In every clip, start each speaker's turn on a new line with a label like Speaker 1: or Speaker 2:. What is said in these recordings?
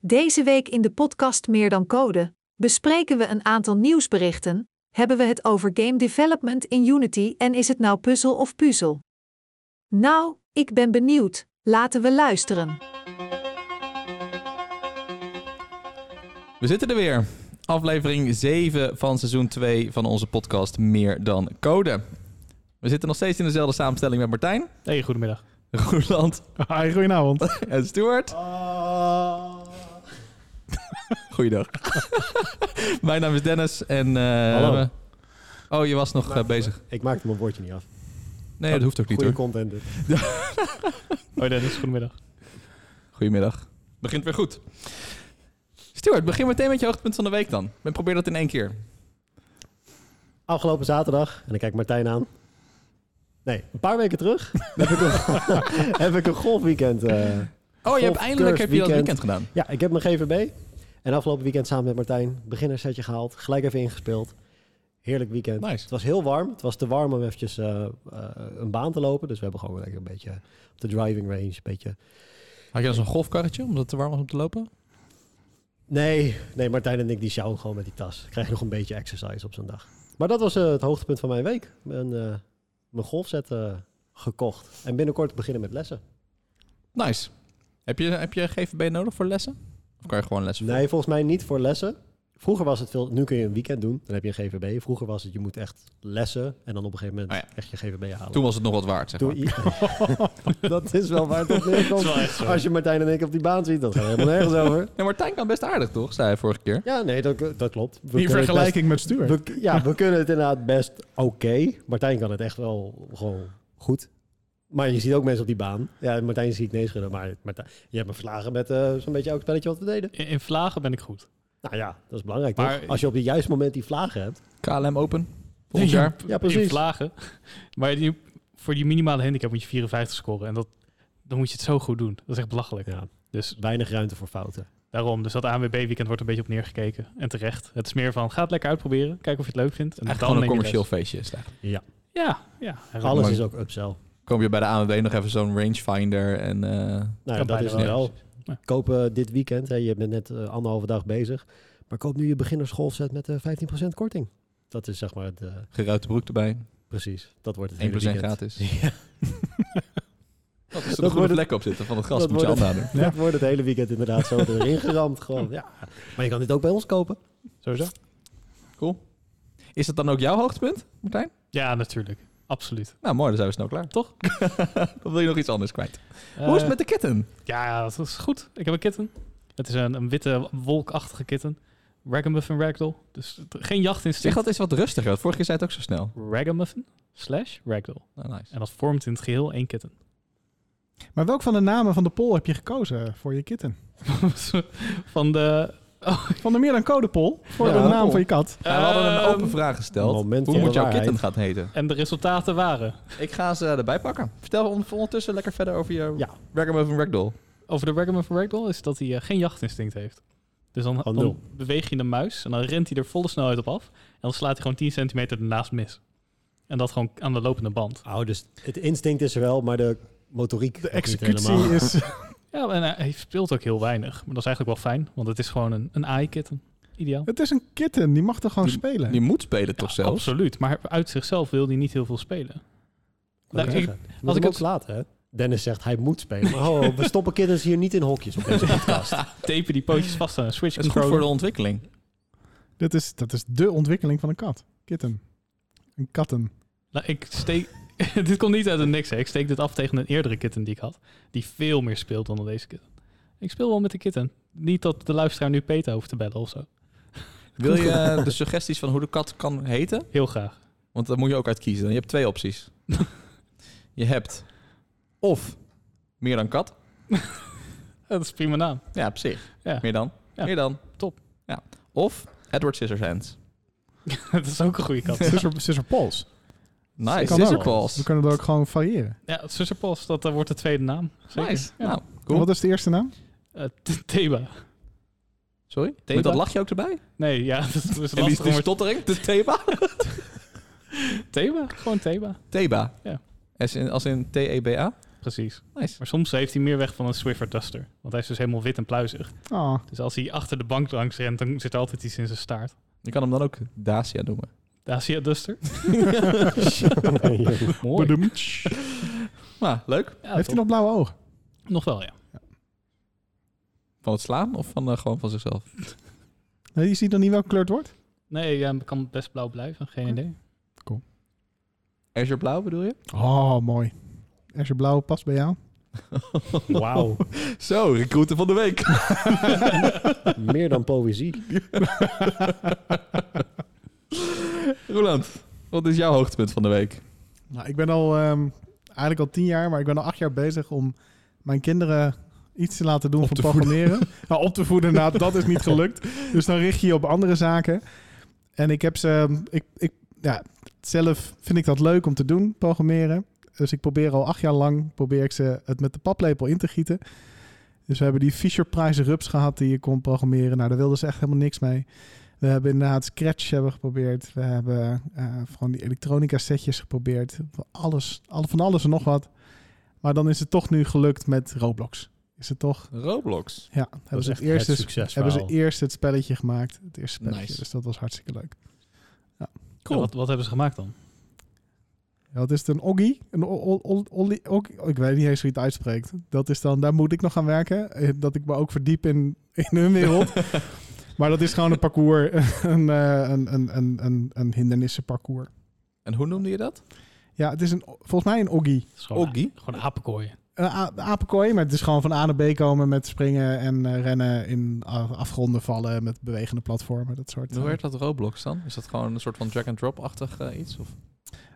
Speaker 1: Deze week in de podcast Meer dan Code bespreken we een aantal nieuwsberichten, hebben we het over game development in Unity en is het nou puzzel of puzzel? Nou, ik ben benieuwd, laten we luisteren.
Speaker 2: We zitten er weer. Aflevering 7 van seizoen 2 van onze podcast Meer dan Code. We zitten nog steeds in dezelfde samenstelling met Martijn,
Speaker 3: Hey, goedemiddag. Oh,
Speaker 2: Roeland
Speaker 3: Hi, goedenavond.
Speaker 2: en Stuart. Ah. Goeiedag. Mijn naam is Dennis en... eh,
Speaker 4: Hallo.
Speaker 2: we- Oh, je was nog eh, bezig.
Speaker 4: Ik maakte mijn woordje niet af.
Speaker 2: Nee, dat hoeft ook niet
Speaker 4: Goede
Speaker 2: hoor.
Speaker 4: content. dus. dit.
Speaker 3: Hoi Dennis, goedemiddag.
Speaker 2: Goedemiddag. Begint weer goed. Stuart, begin meteen met je hoogtepunt van de week dan. En probeer dat in één keer. Oh,
Speaker 4: Afgelopen zaterdag, en ik kijk Martijn aan. Nee, een paar weken terug heb, ik een, heb ik een golfweekend. eh.
Speaker 2: Oh, je hebt
Speaker 4: Golf,
Speaker 2: eindelijk heb je dat
Speaker 4: weekend.
Speaker 2: weekend gedaan.
Speaker 4: Ja, ik heb mijn GVB. En afgelopen weekend samen met Martijn beginnersetje gehaald. Gelijk even ingespeeld. Heerlijk weekend.
Speaker 2: Nice.
Speaker 4: Het was heel warm. Het was te warm om eventjes eh, eh, een baan te lopen. Dus we hebben gewoon lekker een beetje op de driving range. Een beetje...
Speaker 2: Had je dan zo'n golfkarretje omdat het te warm was om te lopen?
Speaker 4: Nee, nee, Martijn en ik die sjouwen gewoon met die tas. Dan Krijg je nog een beetje exercise op zo'n dag. Maar dat was eh, het hoogtepunt van mijn week. Mijn, eh mijn golfset eh, gekocht. En binnenkort beginnen met lessen.
Speaker 2: Nice. Heb je, heb je GVB nodig voor lessen? Of kan je gewoon lessen volgen?
Speaker 4: Nee, volgens mij niet voor lessen. Vroeger was het veel... Nu kun je een weekend doen. Dan heb je een GVB. Vroeger was het, je moet echt lessen. En dan op een gegeven moment
Speaker 2: Oh
Speaker 4: echt je GVB halen.
Speaker 2: Toen was het nog wat waard, zeg maar.
Speaker 4: Toen- dat is wel waar het op neerkomt. Als je Martijn en ik op die baan ziet, dat gaat helemaal nergens over.
Speaker 2: Nee, Martijn kan best aardig, toch? Zei hij vorige keer.
Speaker 4: Ja, nee, dat, dat klopt. We
Speaker 3: Die
Speaker 4: kunnen het best-
Speaker 3: vergelijking met Stuart.
Speaker 4: We, ja, we kunnen het inderdaad best oké. Martijn kan het echt wel gewoon goed. Maar je ziet ook mensen op die baan. Ja, Martijn ziet nee schudden, maar Martijn, je hebt me verslagen met eh, zo'n beetje elk spelletje wat we deden.
Speaker 3: In, in vlagen ben ik goed.
Speaker 4: Nou ja, dat is belangrijk
Speaker 3: Maar-
Speaker 4: toch? Als je op het juiste moment die vlagen hebt.
Speaker 2: KLM Open. Volgend jaar.
Speaker 4: Ja,
Speaker 3: In
Speaker 4: precies.
Speaker 3: vlagen. Maar die, voor die minimale handicap moet je 54 scoren. En dat, dan moet je het zo goed doen. Dat is echt belachelijk.
Speaker 4: Ja,
Speaker 3: Dus
Speaker 4: weinig ruimte voor fouten.
Speaker 3: daarom. Dus dat ANWB-weekend wordt een beetje op neergekeken. En terecht. Het is meer van, ga het lekker uitproberen. Kijk of je het leuk vindt. En
Speaker 2: Eigenlijk
Speaker 3: dan
Speaker 2: gewoon een
Speaker 3: neem je
Speaker 2: commercieel feestje is het eigenlijk.
Speaker 3: les. Ja, ja.
Speaker 4: Alles
Speaker 2: mooi.
Speaker 4: is ook upsell. Nou
Speaker 2: Kom je bij de ANWB nog even zo'n rangefinder en... eh,
Speaker 4: Nou ja,
Speaker 3: Kan
Speaker 4: dat
Speaker 3: bijna
Speaker 4: is het
Speaker 2: wel.
Speaker 4: wel.
Speaker 3: Ja.
Speaker 4: Koop eh, dit weekend, hè, je bent net eh, anderhalve dag bezig. Maar koop nu je beginnersgolfset met eh, 15% korting. Dat is zeg maar het, eh,
Speaker 2: geruite broek erbij.
Speaker 4: precies. Dat wordt het
Speaker 2: 1
Speaker 4: hele
Speaker 2: plus 1
Speaker 4: weekend.
Speaker 2: gratis.
Speaker 4: Ja.
Speaker 2: Dat is er een
Speaker 4: wordt
Speaker 2: goede
Speaker 4: het-
Speaker 2: plek op zitten van het gras.
Speaker 4: dat
Speaker 2: Moet je
Speaker 4: wordt
Speaker 2: aanraden.
Speaker 3: Ja.
Speaker 4: Dat wordt het hele weekend inderdaad zo erin geramd. Gewoon. Ja. Maar je kan dit ook bij ons kopen.
Speaker 3: Sowieso.
Speaker 2: Cool. Is dat dan ook jouw hoogtepunt, Martijn?
Speaker 3: Ja, natuurlijk. Absoluut.
Speaker 2: Nou, mooi. Dan zijn we snel klaar.
Speaker 3: Toch?
Speaker 2: Dan wil je nog iets anders kwijt. Hoe
Speaker 3: Eh,
Speaker 2: is het met de kitten?
Speaker 3: Ja, dat is goed. Ik heb een kitten. Het is een, een witte, wolkachtige kitten. Ragamuffin Ragdoll. Dus het- geen
Speaker 2: Zeg,
Speaker 3: jachtinstinct.
Speaker 2: dat is wat rustiger. want Vorige keer zei het ook zo snel.
Speaker 3: Ragamuffin slash Ragdoll.
Speaker 2: Nou, nice.
Speaker 3: En dat vormt in het geheel één kitten.
Speaker 5: Maar welk van de namen van de poll heb je gekozen voor je kitten?
Speaker 3: Dus, Van de...
Speaker 5: Van de meer dan code poll voor
Speaker 4: Ja,
Speaker 5: de naam
Speaker 2: poll.
Speaker 5: van je kat.
Speaker 2: Nou, we hadden een
Speaker 3: Ehm,
Speaker 2: open vraag gesteld.
Speaker 4: moment
Speaker 2: Hoe
Speaker 4: van
Speaker 2: moet
Speaker 4: de
Speaker 2: jouw
Speaker 4: waarheid.
Speaker 2: kitten gaan heten?
Speaker 3: En de resultaten waren...
Speaker 2: Ik ga ze eh, erbij pakken. Vertel on- ondertussen lekker verder over je
Speaker 4: Ja.
Speaker 2: Ragamuffin Ragdoll.
Speaker 3: Over de Ragamuffin Ragdoll is dat hij eh, geen jachtinstinct heeft. Dus dan,
Speaker 4: Oh, nul.
Speaker 3: dan beweeg je de muis en dan rent hij er volle snelheid op af. En dan slaat hij gewoon 10 centimeter ernaast mis. En dat gewoon aan de lopende band.
Speaker 4: Oh, dus het instinct is er wel, maar de motoriek
Speaker 5: De
Speaker 4: nog niet
Speaker 5: executie
Speaker 4: helemaal.
Speaker 5: is...
Speaker 3: Ja, en hij- hij speelt ook heel weinig. Maar dat is eigenlijk wel fijn, want het is gewoon een, een AI-kitten. Ideaal.
Speaker 5: Het is een kitten, die mag toch gewoon spelen?
Speaker 2: Die moet spelen toch
Speaker 3: Ja,
Speaker 2: zelfs?
Speaker 3: Absoluut, maar uit zichzelf wil hij niet heel veel spelen.
Speaker 4: Ik wou
Speaker 3: Nou,
Speaker 4: zeggen, je moet
Speaker 3: als ik
Speaker 4: hem ook
Speaker 3: het-
Speaker 4: laten, hè? Dennis zegt hij moet spelen. Maar oh, we stoppen kittens hier niet in hokjes op deze podcast.
Speaker 3: Tapen die pootjes vast aan een Switch
Speaker 2: Dat is goed voor de
Speaker 3: controller.
Speaker 2: ontwikkeling.
Speaker 5: Dit is, dat is de ontwikkeling van een kat. Kitten. Een katten.
Speaker 3: Nou, ik steek... dit komt niet uit het niks, hè. Ik steek dit af tegen een eerdere kitten die ik had. Die veel meer speelt dan deze kitten. Ik speel wel met de kitten. Niet dat de luisteraar nu Peter hoeft te bellen of zo.
Speaker 2: Wil je eh, de suggesties van hoe de kat kan heten?
Speaker 3: Heel graag.
Speaker 2: Want daar moet je ook uit kiezen. Je hebt twee opties. je hebt of meer dan kat.
Speaker 3: Dat is een prima naam.
Speaker 2: Ja, op zich.
Speaker 3: Ja.
Speaker 2: Meer dan.
Speaker 3: Ja.
Speaker 2: Meer dan.
Speaker 3: Top.
Speaker 2: Ja. Of Edward Scissorhands.
Speaker 3: dat is ook een goede kat.
Speaker 5: Scissor, scissor polls.
Speaker 2: Nice.
Speaker 5: Kan ook.
Speaker 2: Scissorclaws.
Speaker 5: We kunnen er ook gewoon variëren.
Speaker 3: ja, Susserpost, dat eh, wordt de tweede naam. Zeker.
Speaker 2: Nice.
Speaker 3: Ja.
Speaker 2: Nou,
Speaker 5: En
Speaker 2: cool.
Speaker 5: Wat is de eerste naam?
Speaker 3: Eh, T- Theba.
Speaker 2: Sorry?
Speaker 3: Theba?
Speaker 2: Met dat lachje ook erbij?
Speaker 3: Nee, ja, dat
Speaker 2: En
Speaker 3: is
Speaker 2: die,
Speaker 3: lastig.
Speaker 2: die
Speaker 3: om er-
Speaker 2: stottering? De Theba?
Speaker 3: Theba? Gewoon Theba.
Speaker 2: Theba.
Speaker 3: Ja.
Speaker 2: Als in, als in T-E-B-A?
Speaker 3: precies.
Speaker 2: Nice.
Speaker 3: Maar soms heeft hij meer weg van een Swiffer Duster. Want hij is dus helemaal wit en pluizig.
Speaker 5: Ah,
Speaker 3: Dus als hij achter de bank langs rent, dan zit er altijd iets in zijn staart.
Speaker 2: Je kan hem dan ook Dacia noemen.
Speaker 3: De Asia Duster. Mooi.
Speaker 5: badumtsch.
Speaker 2: Maar leuk.
Speaker 3: Ja,
Speaker 5: Heeft hij
Speaker 3: top.
Speaker 5: nog blauwe ogen?
Speaker 3: nog wel, ja.
Speaker 2: Van het slaan of van eh, gewoon van zichzelf?
Speaker 5: Nee, je ziet dan niet welke kleur het wordt?
Speaker 3: Nee, ja, het kan best blauw blijven. Geen
Speaker 5: Oké.
Speaker 3: idee.
Speaker 2: Azure blauw bedoel je?
Speaker 5: Oh, mooi. Asje blauw past bij jou.
Speaker 4: Wauw,
Speaker 2: Zo, recruiter van de week.
Speaker 4: meer dan poëzie.
Speaker 2: Roland, wat is jouw hoogtepunt van de week?
Speaker 5: Nou, ik ben al ehm, eigenlijk al tien jaar, maar ik ben al acht jaar bezig om mijn kinderen iets te laten doen
Speaker 2: Op
Speaker 5: van
Speaker 2: te
Speaker 5: programmeren. Nou, op te voeden, nou, dat is niet gelukt. Dus dan richt je je op andere zaken. En ik heb ze, ehm, ik, ik, ja, zelf vind ik dat leuk om te doen, programmeren. Dus ik probeer al acht jaar lang, probeer ik ze het met de paplepel in te gieten. Dus we hebben die Fisher Price rups gehad die je kon programmeren. Nou, daar wilden ze echt helemaal niks mee. We hebben inderdaad Scratch hebben we geprobeerd. We hebben eh, gewoon die elektronica setjes geprobeerd. Alles, alle, van alles en nog wat. Maar dan is het toch nu gelukt met Roblox. Is het toch?
Speaker 2: Roblox.
Speaker 5: Ja,
Speaker 4: Dat
Speaker 5: hebben
Speaker 4: is
Speaker 5: ze,
Speaker 4: echt
Speaker 5: het
Speaker 4: eerst
Speaker 5: eerste,
Speaker 4: het succesverhaal.
Speaker 5: hebben ze eerst het spelletje gemaakt. Het eerste spelletje.
Speaker 2: Nice.
Speaker 5: Dus dat was hartstikke leuk.
Speaker 3: Ja, wat, wat hebben ze gemaakt dan?
Speaker 5: Ja, wat is het? Een Oggy? Een o- o- o- ollie- oggy? Ik weet niet eens hoe je het uitspreekt. Dat is dan, daar moet ik nog aan werken. eh, Dat ik me ook verdiep in, in hun wereld. maar dat is gewoon een parcours. Een, eh, een, een, een, een, een hindernissenparcours.
Speaker 2: En hoe noemde je dat?
Speaker 5: Ja, het is een, volgens mij een Oggy.
Speaker 3: Het is gewoon,
Speaker 2: Oggy?
Speaker 3: gewoon apenkooien.
Speaker 5: Een a- apenkooi, maar het is gewoon van A naar B komen met springen en eh, rennen in a- afgronden vallen met bewegende platformen, dat soort.
Speaker 2: Hoe
Speaker 5: eh,
Speaker 2: werd dat Roblox dan? Is dat gewoon een soort van drag-and-drop-achtig eh, iets? Of?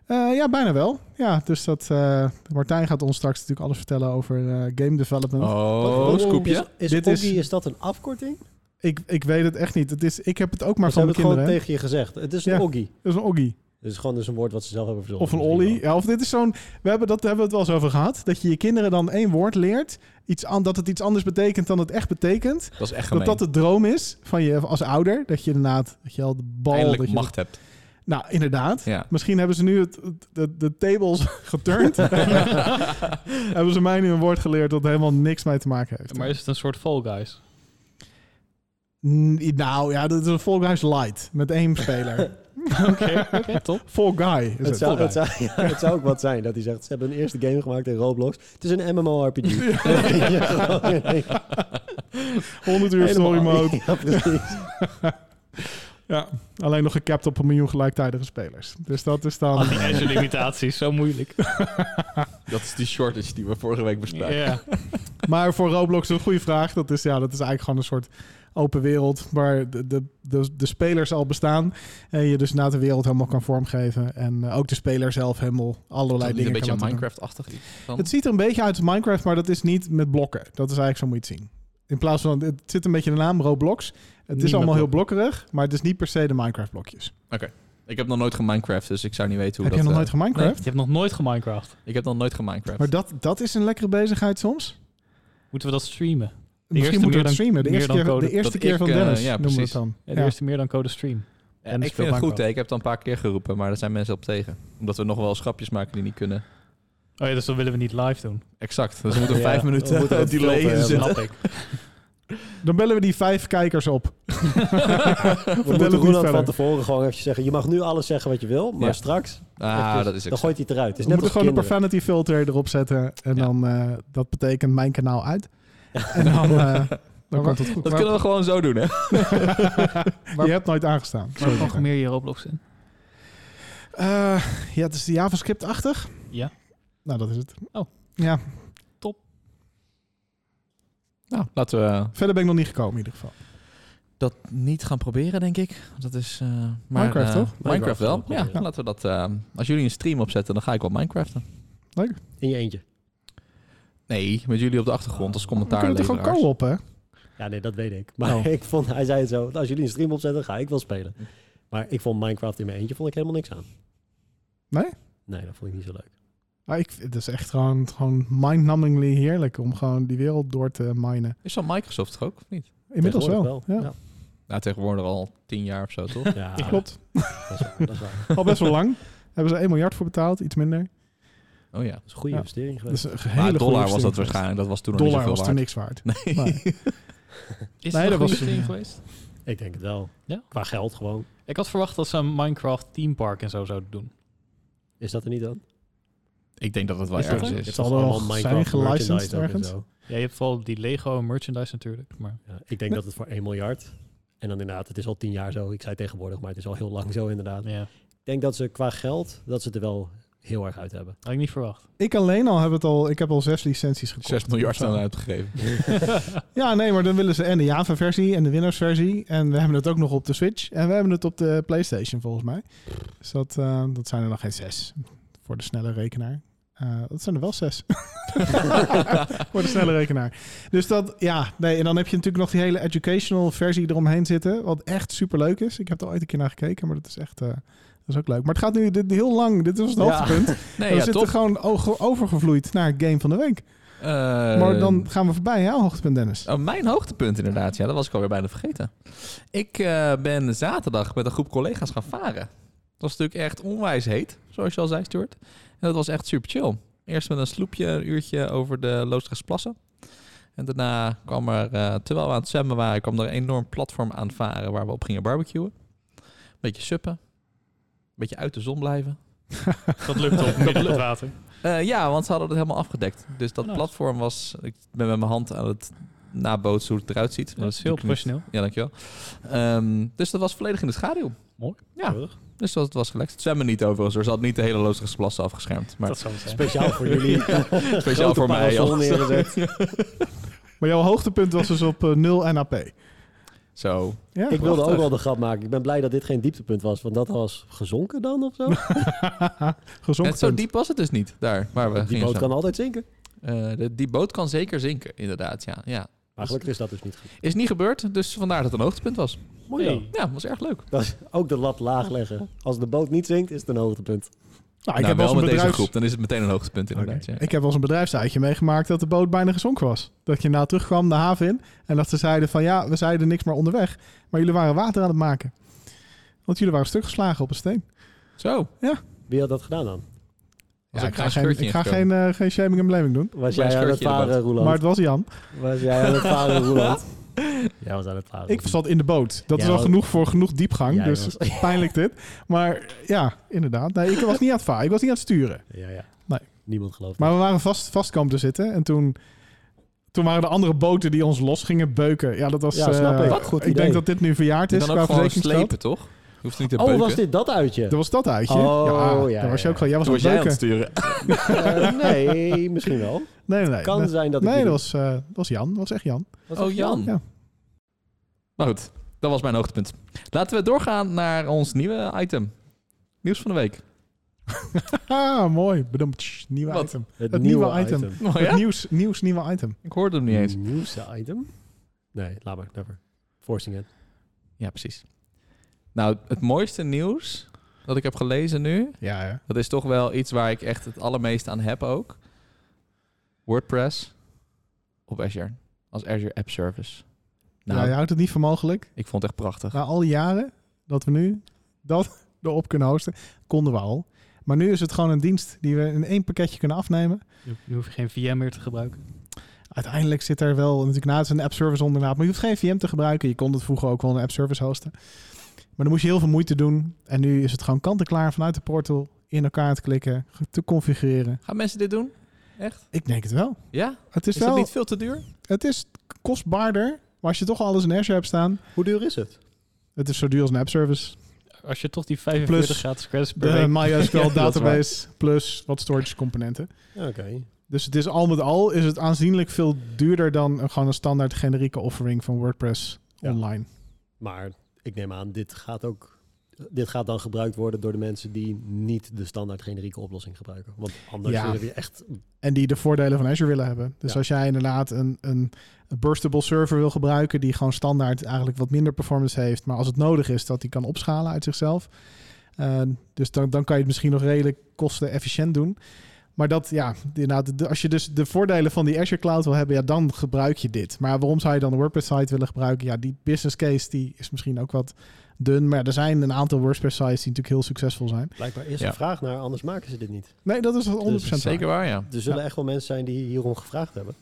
Speaker 5: Eh, ja, bijna wel. Ja, dus dat, eh, Martijn gaat ons straks natuurlijk alles vertellen over eh, game development.
Speaker 2: Oh, scoopje.
Speaker 4: Is, is,
Speaker 5: Dit is-
Speaker 4: Oggy, is dat een afkorting?
Speaker 5: Ik, ik weet het echt niet. Het is, ik heb het ook maar
Speaker 4: Maar ze
Speaker 5: van
Speaker 4: hebben
Speaker 5: de
Speaker 4: het gewoon
Speaker 5: kinderen. hè.
Speaker 4: tegen je gezegd. Het is een
Speaker 5: Ja.
Speaker 4: Oggy.
Speaker 5: Dat is een oggy.
Speaker 4: Het is gewoon dus een woord wat ze zelf hebben verzonnen.
Speaker 5: Of een ollie.
Speaker 4: Misschien
Speaker 5: Ja, of dit is zo'n... We hebben, dat, daar hebben we het wel eens over gehad. Dat je je kinderen dan één woord leert. Iets aan, dat het iets anders betekent dan het echt betekent.
Speaker 2: Dat is echt gemeen.
Speaker 5: Dat dat de droom is van je als ouder. Dat je inderdaad... Dat je al de bal... dat
Speaker 2: Eindelijk
Speaker 5: je
Speaker 2: macht hebt.
Speaker 5: nou, inderdaad.
Speaker 2: Ja.
Speaker 5: Misschien hebben ze nu het, het- de, de tables geturnd. hebben ze mij nu een woord geleerd dat helemaal niks mee te maken heeft.
Speaker 3: Maar is het een soort Fall Guys?
Speaker 5: Mm, Nou ja, dat is een Fall Guys light. Met één speler.
Speaker 3: Oké, oké, top.
Speaker 5: Fall Guy is
Speaker 4: wel.
Speaker 5: het.
Speaker 4: Het zou, het, zou, ja, het zou ook wat zijn dat hij zegt, ze hebben een eerste game gemaakt in Roblox. Het is een MMORPG. Ja, gewoon, nee,
Speaker 5: 100 uur story
Speaker 4: helemaal.
Speaker 5: mode.
Speaker 4: Ja, precies.
Speaker 5: Ja, alleen nog gekapt op een miljoen gelijktijdige spelers. Dus dat is dan...
Speaker 3: Al die Azure limitaties, zo moeilijk.
Speaker 2: Dat is die shortage die we vorige week
Speaker 3: Ja.
Speaker 2: bespraken.
Speaker 5: Maar voor Roblox een goede vraag. Dat is, ja, dat is eigenlijk gewoon een soort open wereld waar de, de, de, de spelers al bestaan. En je dus na de wereld helemaal kan vormgeven. En eh, ook de speler zelf helemaal
Speaker 2: Is
Speaker 5: allerlei
Speaker 2: dat niet
Speaker 5: dingen
Speaker 2: een beetje
Speaker 5: kan laten doen.
Speaker 2: Minecraft-achtig iets. van?
Speaker 5: Het ziet er een beetje uit als Minecraft, maar dat is niet met blokken. Dat is eigenlijk zo moet je het zien. In plaats van, het zit een beetje in de naam Roblox. Het
Speaker 3: Niet
Speaker 5: is
Speaker 3: met
Speaker 5: allemaal heel blokkerig, maar het is niet per se de Minecraft blokjes.
Speaker 2: Ik heb nog nooit geminecraft, dus ik zou niet weten hoe
Speaker 5: Heb
Speaker 2: dat...
Speaker 5: je
Speaker 2: eh,
Speaker 5: nog nooit
Speaker 3: Nee,
Speaker 5: geminecraft?
Speaker 3: je hebt nog nooit geminecraft.
Speaker 2: Ik heb nog nooit geminecraft.
Speaker 5: Maar dat, dat is een lekkere bezigheid soms.
Speaker 3: Moeten we dat streamen? eerste
Speaker 5: Misschien moeten
Speaker 3: meer
Speaker 5: we
Speaker 3: dan-
Speaker 5: het streamen. De
Speaker 3: meer
Speaker 5: eerste
Speaker 3: dan
Speaker 5: keer,
Speaker 3: code.
Speaker 5: de eerste
Speaker 2: Dat
Speaker 5: keer
Speaker 2: ik,
Speaker 5: van
Speaker 2: eh,
Speaker 5: Dennis
Speaker 2: ja,
Speaker 5: noemen we het
Speaker 2: precies.
Speaker 5: dan.
Speaker 3: Ja, de
Speaker 5: Ja.
Speaker 3: eerste meer dan code stream.
Speaker 2: Ja,
Speaker 3: En
Speaker 2: ik
Speaker 3: speel
Speaker 2: vind het goed,
Speaker 3: Minecraft.
Speaker 2: hè. ik heb het al een paar keer geroepen, maar daar zijn mensen op tegen. Omdat we nog wel eens grapjes maken die niet kunnen.
Speaker 3: Oh ja, dus dat willen we niet live doen.
Speaker 2: Exact, dus we moeten
Speaker 4: Ja,
Speaker 2: vijf
Speaker 4: we
Speaker 2: minuten
Speaker 4: moeten wat
Speaker 2: delay
Speaker 4: filter
Speaker 2: in
Speaker 4: hebben.
Speaker 2: zitten.
Speaker 3: Snap ik.
Speaker 5: Dan bellen we die vijf kijkers op.
Speaker 4: We
Speaker 5: het
Speaker 4: moeten
Speaker 5: niet
Speaker 4: Roland
Speaker 5: verder.
Speaker 4: van tevoren gewoon even zeggen, je mag nu alles zeggen wat je wil, maar
Speaker 2: Ja.
Speaker 4: straks
Speaker 2: Ah, dat is
Speaker 4: dan
Speaker 2: exact.
Speaker 4: gooit hij het eruit. Het is
Speaker 5: we
Speaker 4: net
Speaker 5: moeten
Speaker 4: als
Speaker 5: gewoon een
Speaker 4: kinderen.
Speaker 5: profanity filter erop zetten. En
Speaker 2: Ja.
Speaker 5: dan, eh, dat betekent mijn kanaal uit. En dan, eh, dan komt het goed.
Speaker 2: Dat kunnen we gewoon zo doen, hè?
Speaker 5: Je hebt nooit aangestaan.
Speaker 3: Maar programmeer je Roblox in.
Speaker 5: Eh, ja, het is de JavaScript-achtig.
Speaker 3: Ja.
Speaker 5: Nou, dat is het.
Speaker 3: Oh.
Speaker 5: Ja,
Speaker 2: Nou, laten we
Speaker 5: verder ben ik nog niet gekomen in ieder geval.
Speaker 2: dat niet gaan proberen, denk ik. Dat is... eh, maar,
Speaker 5: Minecraft,
Speaker 2: eh,
Speaker 5: toch?
Speaker 2: Minecraft
Speaker 4: Minecraft
Speaker 2: wel,
Speaker 4: gaan we
Speaker 2: ja.
Speaker 4: proberen.
Speaker 2: Laten we dat... eh, als jullie een stream opzetten, dan ga ik wel Minecraften.
Speaker 4: In je eentje.
Speaker 2: Nee, met jullie op de achtergrond als
Speaker 5: We
Speaker 2: commentaar
Speaker 5: kunnen toch gewoon
Speaker 2: leveraars.
Speaker 5: co-op, hè?
Speaker 4: Ja, nee, dat weet ik. Maar
Speaker 5: Oh.
Speaker 4: ik vond, hij zei het zo, als jullie een stream opzetten, ga ik wel spelen. Maar ik vond Minecraft in mijn eentje vond ik helemaal niks aan.
Speaker 5: Nee?
Speaker 4: Nee, dat vond ik niet zo leuk.
Speaker 5: Maar ik, het is echt gewoon, gewoon mind-numbingly heerlijk om gewoon die wereld door te minen.
Speaker 2: Is dat Microsoft toch ook, of niet?
Speaker 5: Inmiddels wel.
Speaker 4: Tegenwoordig
Speaker 5: Ja.
Speaker 2: Nou, tegenwoordig al tien jaar of zo, toch?
Speaker 4: Ja,
Speaker 5: Klopt.
Speaker 4: Dat is waar, dat is waar.
Speaker 5: Al best wel lang. Hebben ze 1 miljard voor betaald, iets minder.
Speaker 2: Oh ja.
Speaker 4: Dat is een goede
Speaker 5: Ja.
Speaker 4: investering
Speaker 5: Dat
Speaker 4: geweest.
Speaker 5: is een hele
Speaker 2: Maar
Speaker 5: goede
Speaker 2: dollar was dat
Speaker 5: investering.
Speaker 2: waarschijnlijk. Dat was toen nog niet
Speaker 5: Dollar
Speaker 2: zoveel
Speaker 5: was
Speaker 2: waard.
Speaker 5: toen
Speaker 2: Nee.
Speaker 5: niks waard. Maar-
Speaker 3: Is
Speaker 5: Nee,
Speaker 3: het een
Speaker 5: dat was-
Speaker 3: goede investering geweest?
Speaker 4: Ik denk het wel.
Speaker 3: Ja?
Speaker 4: Qua geld gewoon.
Speaker 3: Ik had verwacht dat ze een Minecraft theme park en zo zouden doen.
Speaker 4: Is dat er niet dan?
Speaker 2: Ik denk dat het wel
Speaker 3: Is dat
Speaker 2: ergens
Speaker 3: het?
Speaker 2: is.
Speaker 5: zal
Speaker 4: toch
Speaker 5: er
Speaker 4: allemaal
Speaker 5: nog
Speaker 4: Minecraft
Speaker 5: zijn gelicensed
Speaker 4: merchandise ook en
Speaker 5: ergens?
Speaker 4: zo?
Speaker 3: Ja, je hebt vooral die Lego en merchandise natuurlijk. Maar
Speaker 4: Ja, ik denk dat het voor 1 miljard. En dan inderdaad, het is al 10 jaar zo. Ik zei tegenwoordig, maar het is al heel lang zo inderdaad.
Speaker 3: ja,
Speaker 4: Ik denk dat ze qua geld, dat ze het er wel heel erg uit hebben.
Speaker 3: had ik niet verwacht.
Speaker 5: Ik alleen al heb het al, ik heb al zes licenties gekocht.
Speaker 2: 6 miljard
Speaker 5: Of zo.
Speaker 2: aan uitgegeven.
Speaker 5: Ja, nee, maar dan willen ze en de Java-versie en de Windows-versie. En we hebben het ook nog op de Switch. En we hebben het op de PlayStation volgens mij. Dus dat, eh, dat zijn er nog geen zes. Voor de snelle rekenaar. Eh, dat zijn er wel zes. voor de snelle rekenaar. Dus dat, ja, nee. En dan heb je natuurlijk nog die hele educational versie eromheen zitten. Wat echt superleuk is. Ik heb er ooit een keer naar gekeken, maar dat is echt. eh, dat is ook leuk. Maar het gaat nu dit, heel lang. Dit was het
Speaker 2: Ja.
Speaker 5: hoogtepunt.
Speaker 2: Nee,
Speaker 5: we
Speaker 2: ja,
Speaker 5: zitten
Speaker 2: toch?
Speaker 5: gewoon o- overgevloeid naar Game van de Week.
Speaker 2: eh, Ehm.
Speaker 5: Maar dan gaan we voorbij, hè, hoogtepunt Dennis.
Speaker 2: Oh, mijn hoogtepunt inderdaad. Ja, dat was ik alweer bijna vergeten. Ik eh, ben zaterdag met een groep collega's gaan varen. Dat was natuurlijk echt onwijs heet, zoals je al zei, Stuart. En dat was echt super chill. Eerst met een sloepje, een uurtje over de Loosdrechtse En daarna kwam er, eh, terwijl we aan het zwemmen waren, kwam er een enorm platform aan varen waar we op gingen barbecuen. Beetje suppen. Beetje uit de zon blijven.
Speaker 3: Dat lukt op midden het water.
Speaker 2: Eh, ja, want ze hadden het helemaal afgedekt. Dus dat
Speaker 3: Nice.
Speaker 2: platform was... Ik ben met mijn hand aan het nabootsen hoe het eruit ziet. Maar
Speaker 3: Dat is heel
Speaker 2: natuurlijk niet-
Speaker 3: professioneel.
Speaker 2: ja, dankjewel. Ehm, dus dat was volledig in de schaduw.
Speaker 3: Mooi.
Speaker 2: Ja, dus dat was relaxed. Zwemmen niet overigens. Er zat niet de hele Loosdrechtse plassen afgeschermd. Maar
Speaker 3: Dat zou het zijn.
Speaker 4: Speciaal voor jullie.
Speaker 2: speciaal voor mij.
Speaker 4: al.
Speaker 2: joh.
Speaker 5: Maar jouw hoogtepunt was dus op eh, 0 NAP.
Speaker 2: Zo.
Speaker 5: Ja,
Speaker 4: Ik wilde ook
Speaker 2: Prachtig.
Speaker 4: wel de grap maken. Ik ben blij dat dit geen dieptepunt was, want dat was gezonken dan of zo.
Speaker 5: gezond.
Speaker 2: Net zo diep was het dus niet daar waar we
Speaker 4: Die
Speaker 2: gingen
Speaker 4: boot kan
Speaker 2: zwemmen.
Speaker 4: altijd zinken.
Speaker 2: Eh, de- die boot kan zeker zinken, inderdaad. Ja. Ja.
Speaker 4: Maar gelukkig is dat dus niet goed.
Speaker 2: Is niet gebeurd, dus vandaar dat het een hoogtepunt was.
Speaker 4: Mooi
Speaker 3: Hey.
Speaker 4: dan.
Speaker 2: Ja, was erg leuk.
Speaker 4: Dat is ook de lat laag leggen. Als de boot niet zinkt, is het een hoogtepunt.
Speaker 5: Nou, ik,
Speaker 2: Nou,
Speaker 5: heb
Speaker 2: wel
Speaker 5: wel eens
Speaker 2: met
Speaker 5: een bedrijfs...
Speaker 2: deze groep, dan is het meteen een hoogtepunt inderdaad.
Speaker 5: Oké.
Speaker 2: ja.
Speaker 5: Ik heb wel eens een bedrijfsuitje meegemaakt dat de boot bijna gezonken was. Dat je na terugkwam de haven in en dat ze zeiden van ja, we zeiden niks meer onderweg. Maar jullie waren water aan het maken. Want jullie waren stuk geslagen op een steen.
Speaker 2: Zo.
Speaker 4: Wie had dat gedaan dan?
Speaker 2: Was
Speaker 5: Ja,
Speaker 2: ook
Speaker 5: Dus ik ga
Speaker 2: geen
Speaker 5: geen,
Speaker 2: scheurtje
Speaker 5: ik ga geen,
Speaker 2: ingekomen.
Speaker 5: eh, geen shaming en blaming doen.
Speaker 4: Was
Speaker 2: Bij
Speaker 4: jij
Speaker 2: een
Speaker 4: aan het
Speaker 2: scheurtje in de
Speaker 4: varen, Roeland?
Speaker 5: Maar het was Jan.
Speaker 4: Was jij aan het varen, Roeland? jij was aan het varen.
Speaker 5: Ik zat in de boot. Dat
Speaker 4: Ja,
Speaker 5: is al
Speaker 4: wel-
Speaker 5: genoeg voor genoeg diepgang.
Speaker 4: Ja,
Speaker 5: dus
Speaker 4: jongens.
Speaker 5: pijnlijk dit. Maar ja, inderdaad. Nee, ik was niet aan het varen. Ik was niet aan het sturen.
Speaker 4: Ja, ja.
Speaker 5: Nee.
Speaker 4: Niemand gelooft
Speaker 5: Maar we waren vast, vast komen te zitten. En toen, toen waren de andere boten die ons los gingen beuken. Ja, dat was...
Speaker 4: Ja, snap
Speaker 5: eh,
Speaker 4: ik. Wat goed
Speaker 5: Ik
Speaker 4: idee.
Speaker 5: denk dat dit nu verjaard
Speaker 2: Je
Speaker 5: is
Speaker 2: kan
Speaker 5: qua
Speaker 2: ook gewoon
Speaker 5: verzekeringsgeld.
Speaker 2: slepen, toch? Je hoeft niet te
Speaker 4: me. Oh,
Speaker 2: beuken.
Speaker 4: was dit dat uitje?
Speaker 5: Dat was dat uitje.
Speaker 4: Oh,
Speaker 5: ja,
Speaker 4: ja,
Speaker 5: daar was je
Speaker 4: ja,
Speaker 5: ook gewoon. Jij was
Speaker 2: Toen
Speaker 5: aan
Speaker 2: was
Speaker 5: het
Speaker 2: jij aan
Speaker 5: beuken.
Speaker 2: het sturen.
Speaker 4: Eh, nee, misschien wel.
Speaker 5: nee, nee, nee.
Speaker 4: Kan
Speaker 5: nee,
Speaker 4: zijn dat ik
Speaker 5: nee,
Speaker 4: die
Speaker 5: dat
Speaker 4: doe.
Speaker 5: was, eh, dat was Jan. Dat was echt Jan.
Speaker 4: Was dat
Speaker 2: Oh, Jan.
Speaker 5: Ja.
Speaker 2: Maar goed, dat was mijn hoogtepunt. Laten we doorgaan naar ons nieuwe item. Nieuws van de week.
Speaker 5: Ah, mooi. Bedompt. Nieuwe
Speaker 2: Wat?
Speaker 5: item. Het nieuwe item.
Speaker 2: Oh,
Speaker 5: Het nieuws, nieuws, nieuwe item.
Speaker 2: Ik hoorde hem niet eens.
Speaker 4: Het nieuwste item? Nee, laat maar. Never. Forcing it.
Speaker 2: Ja, precies. Nou, het mooiste nieuws dat ik heb gelezen nu...
Speaker 5: Ja, ja.
Speaker 2: dat is toch wel iets waar ik echt het allermeest aan heb ook. WordPress op Azure. Als Azure App Service. Nou,
Speaker 5: ja. Je houdt het niet voor mogelijk.
Speaker 2: ik vond het echt prachtig.
Speaker 5: Na al die jaren dat we nu dat erop kunnen hosten, konden we al. Maar nu is het gewoon een dienst die we in één pakketje kunnen afnemen.
Speaker 3: Nu, nu hoef je geen VM meer te gebruiken.
Speaker 5: Uiteindelijk zit er wel natuurlijk naast een app service ondernaad, maar je hoeft geen VM te gebruiken. Je kon het vroeger ook wel een app service hosten. Maar dan moest je heel veel moeite doen. En nu is het gewoon kant-en-klaar vanuit de portal in elkaar te klikken, ge- te configureren.
Speaker 2: Gaan mensen dit doen?
Speaker 5: Ik denk het wel.
Speaker 2: Ja?
Speaker 5: Het
Speaker 2: Is,
Speaker 5: is, wel,
Speaker 2: dat niet veel te duur?
Speaker 5: het is kostbaarder, maar als je toch alles in Azure hebt staan,
Speaker 4: Hoe duur is het?
Speaker 5: het is zo duur als een app service.
Speaker 3: Als je toch die 45
Speaker 5: Plus
Speaker 3: gratis credits per
Speaker 5: De
Speaker 3: week...
Speaker 5: MySQL
Speaker 4: waar.
Speaker 5: database plus wat storage componenten.
Speaker 4: Oké.
Speaker 5: Dus het is al met al is het aanzienlijk veel duurder dan een- gewoon een standaard generieke offering van WordPress
Speaker 4: Ja.
Speaker 5: online.
Speaker 4: Maar ik neem aan, dit gaat ook... Dit gaat dan gebruikt worden door de mensen die niet de standaard generieke oplossing gebruiken. Want anders
Speaker 5: Ja.
Speaker 4: heb je echt...
Speaker 5: En die de voordelen van Azure willen hebben. Dus
Speaker 4: Ja.
Speaker 5: als jij inderdaad een, een burstable server wil gebruiken, die gewoon standaard eigenlijk wat minder performance heeft, maar als het nodig is, dat die kan opschalen uit zichzelf. Eh, dus dan, dan kan je het misschien nog redelijk kostenefficiënt doen. Maar dat, ja, inderdaad, de- als je dus de voordelen van die Azure Cloud wil hebben, ja, dan gebruik je dit. Maar waarom zou je dan een WordPress site willen gebruiken? Ja, die business case die is misschien ook wat dun. Maar er zijn een aantal WordPress sites die natuurlijk heel succesvol zijn.
Speaker 4: Blijkbaar is
Speaker 2: Ja.
Speaker 4: er vraag naar, anders maken ze dit niet.
Speaker 5: Nee, dat is 100%
Speaker 4: Dus
Speaker 5: waar.
Speaker 2: Zeker waar, ja.
Speaker 4: Er zullen echt wel mensen zijn die hierom gevraagd hebben.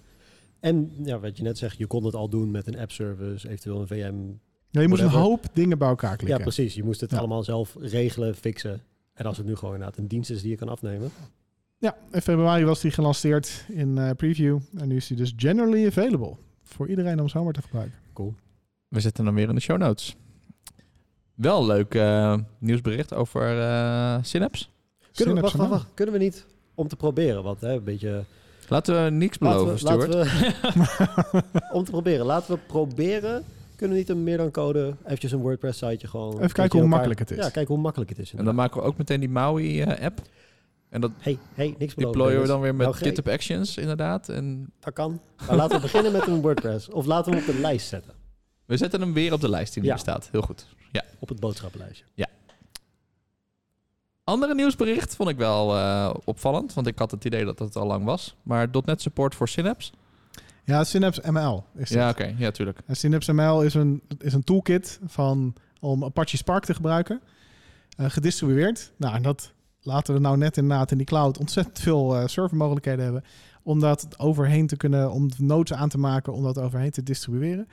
Speaker 4: En ja, wat je net zegt, je kon het al doen met een app-service, eventueel een VM.
Speaker 5: Ja, je moest een
Speaker 4: Whatever.
Speaker 5: hoop dingen bij elkaar
Speaker 4: Ja,
Speaker 5: klikken.
Speaker 4: precies. Je moest het
Speaker 5: Ja.
Speaker 4: allemaal zelf regelen, fixen. En als het nu gewoon inderdaad een dienst is die je kan afnemen.
Speaker 5: Ja, in februari was die gelanceerd in eh, preview. En nu is die dus generally available. Voor iedereen om zomaar te gebruiken.
Speaker 2: We zetten hem weer in de show notes. Wel leuk eh, nieuwsbericht over eh Synapse.
Speaker 4: Kunnen we, wacht,
Speaker 5: Synapse
Speaker 4: wacht,
Speaker 5: Nano.
Speaker 4: wacht. Kunnen we niet om te proberen? Want hè, een beetje...
Speaker 2: Laten we niks
Speaker 4: Laten
Speaker 5: Nou,
Speaker 2: beloven,
Speaker 4: we,
Speaker 2: Stuart.
Speaker 4: laten we, om te proberen. Laten we proberen. Kunnen we niet een meer dan code, eventjes een WordPress siteje gewoon... een
Speaker 5: Even
Speaker 4: keertje
Speaker 5: kijken hoe
Speaker 4: in elkaar-
Speaker 5: makkelijk het is.
Speaker 4: Ja, kijken hoe makkelijk het is.
Speaker 2: En dan maken we ook meteen die Maui-app. en dat
Speaker 4: hey, hey, niks beloven.
Speaker 2: deployen we
Speaker 4: Dennis.
Speaker 2: dan weer met
Speaker 4: Nou, ge-
Speaker 2: GitHub Actions, inderdaad. En
Speaker 4: Dat kan. Maar laten we beginnen met een WordPress. Of laten we hem op de lijst zetten.
Speaker 2: we zetten hem weer op de lijst die nu
Speaker 4: Ja.
Speaker 2: bestaat. Heel goed.
Speaker 4: Op het boodschappenlijstje.
Speaker 2: Andere nieuwsbericht vond ik wel eh, opvallend, want ik had het idee dat het al lang was. Maar .NET support voor Synapse?
Speaker 5: Ja, Synapse ML is dat.
Speaker 2: Ja, oké. Ja, tuurlijk.
Speaker 5: En Synapse ML is een, is een toolkit van, om Apache Spark te gebruiken. eh, gedistribueerd. Nou, en dat laten we nou net inderdaad in die cloud ontzettend veel eh, servermogelijkheden hebben. Om dat overheen te kunnen, om nodes aan te maken, om dat overheen te distribueren.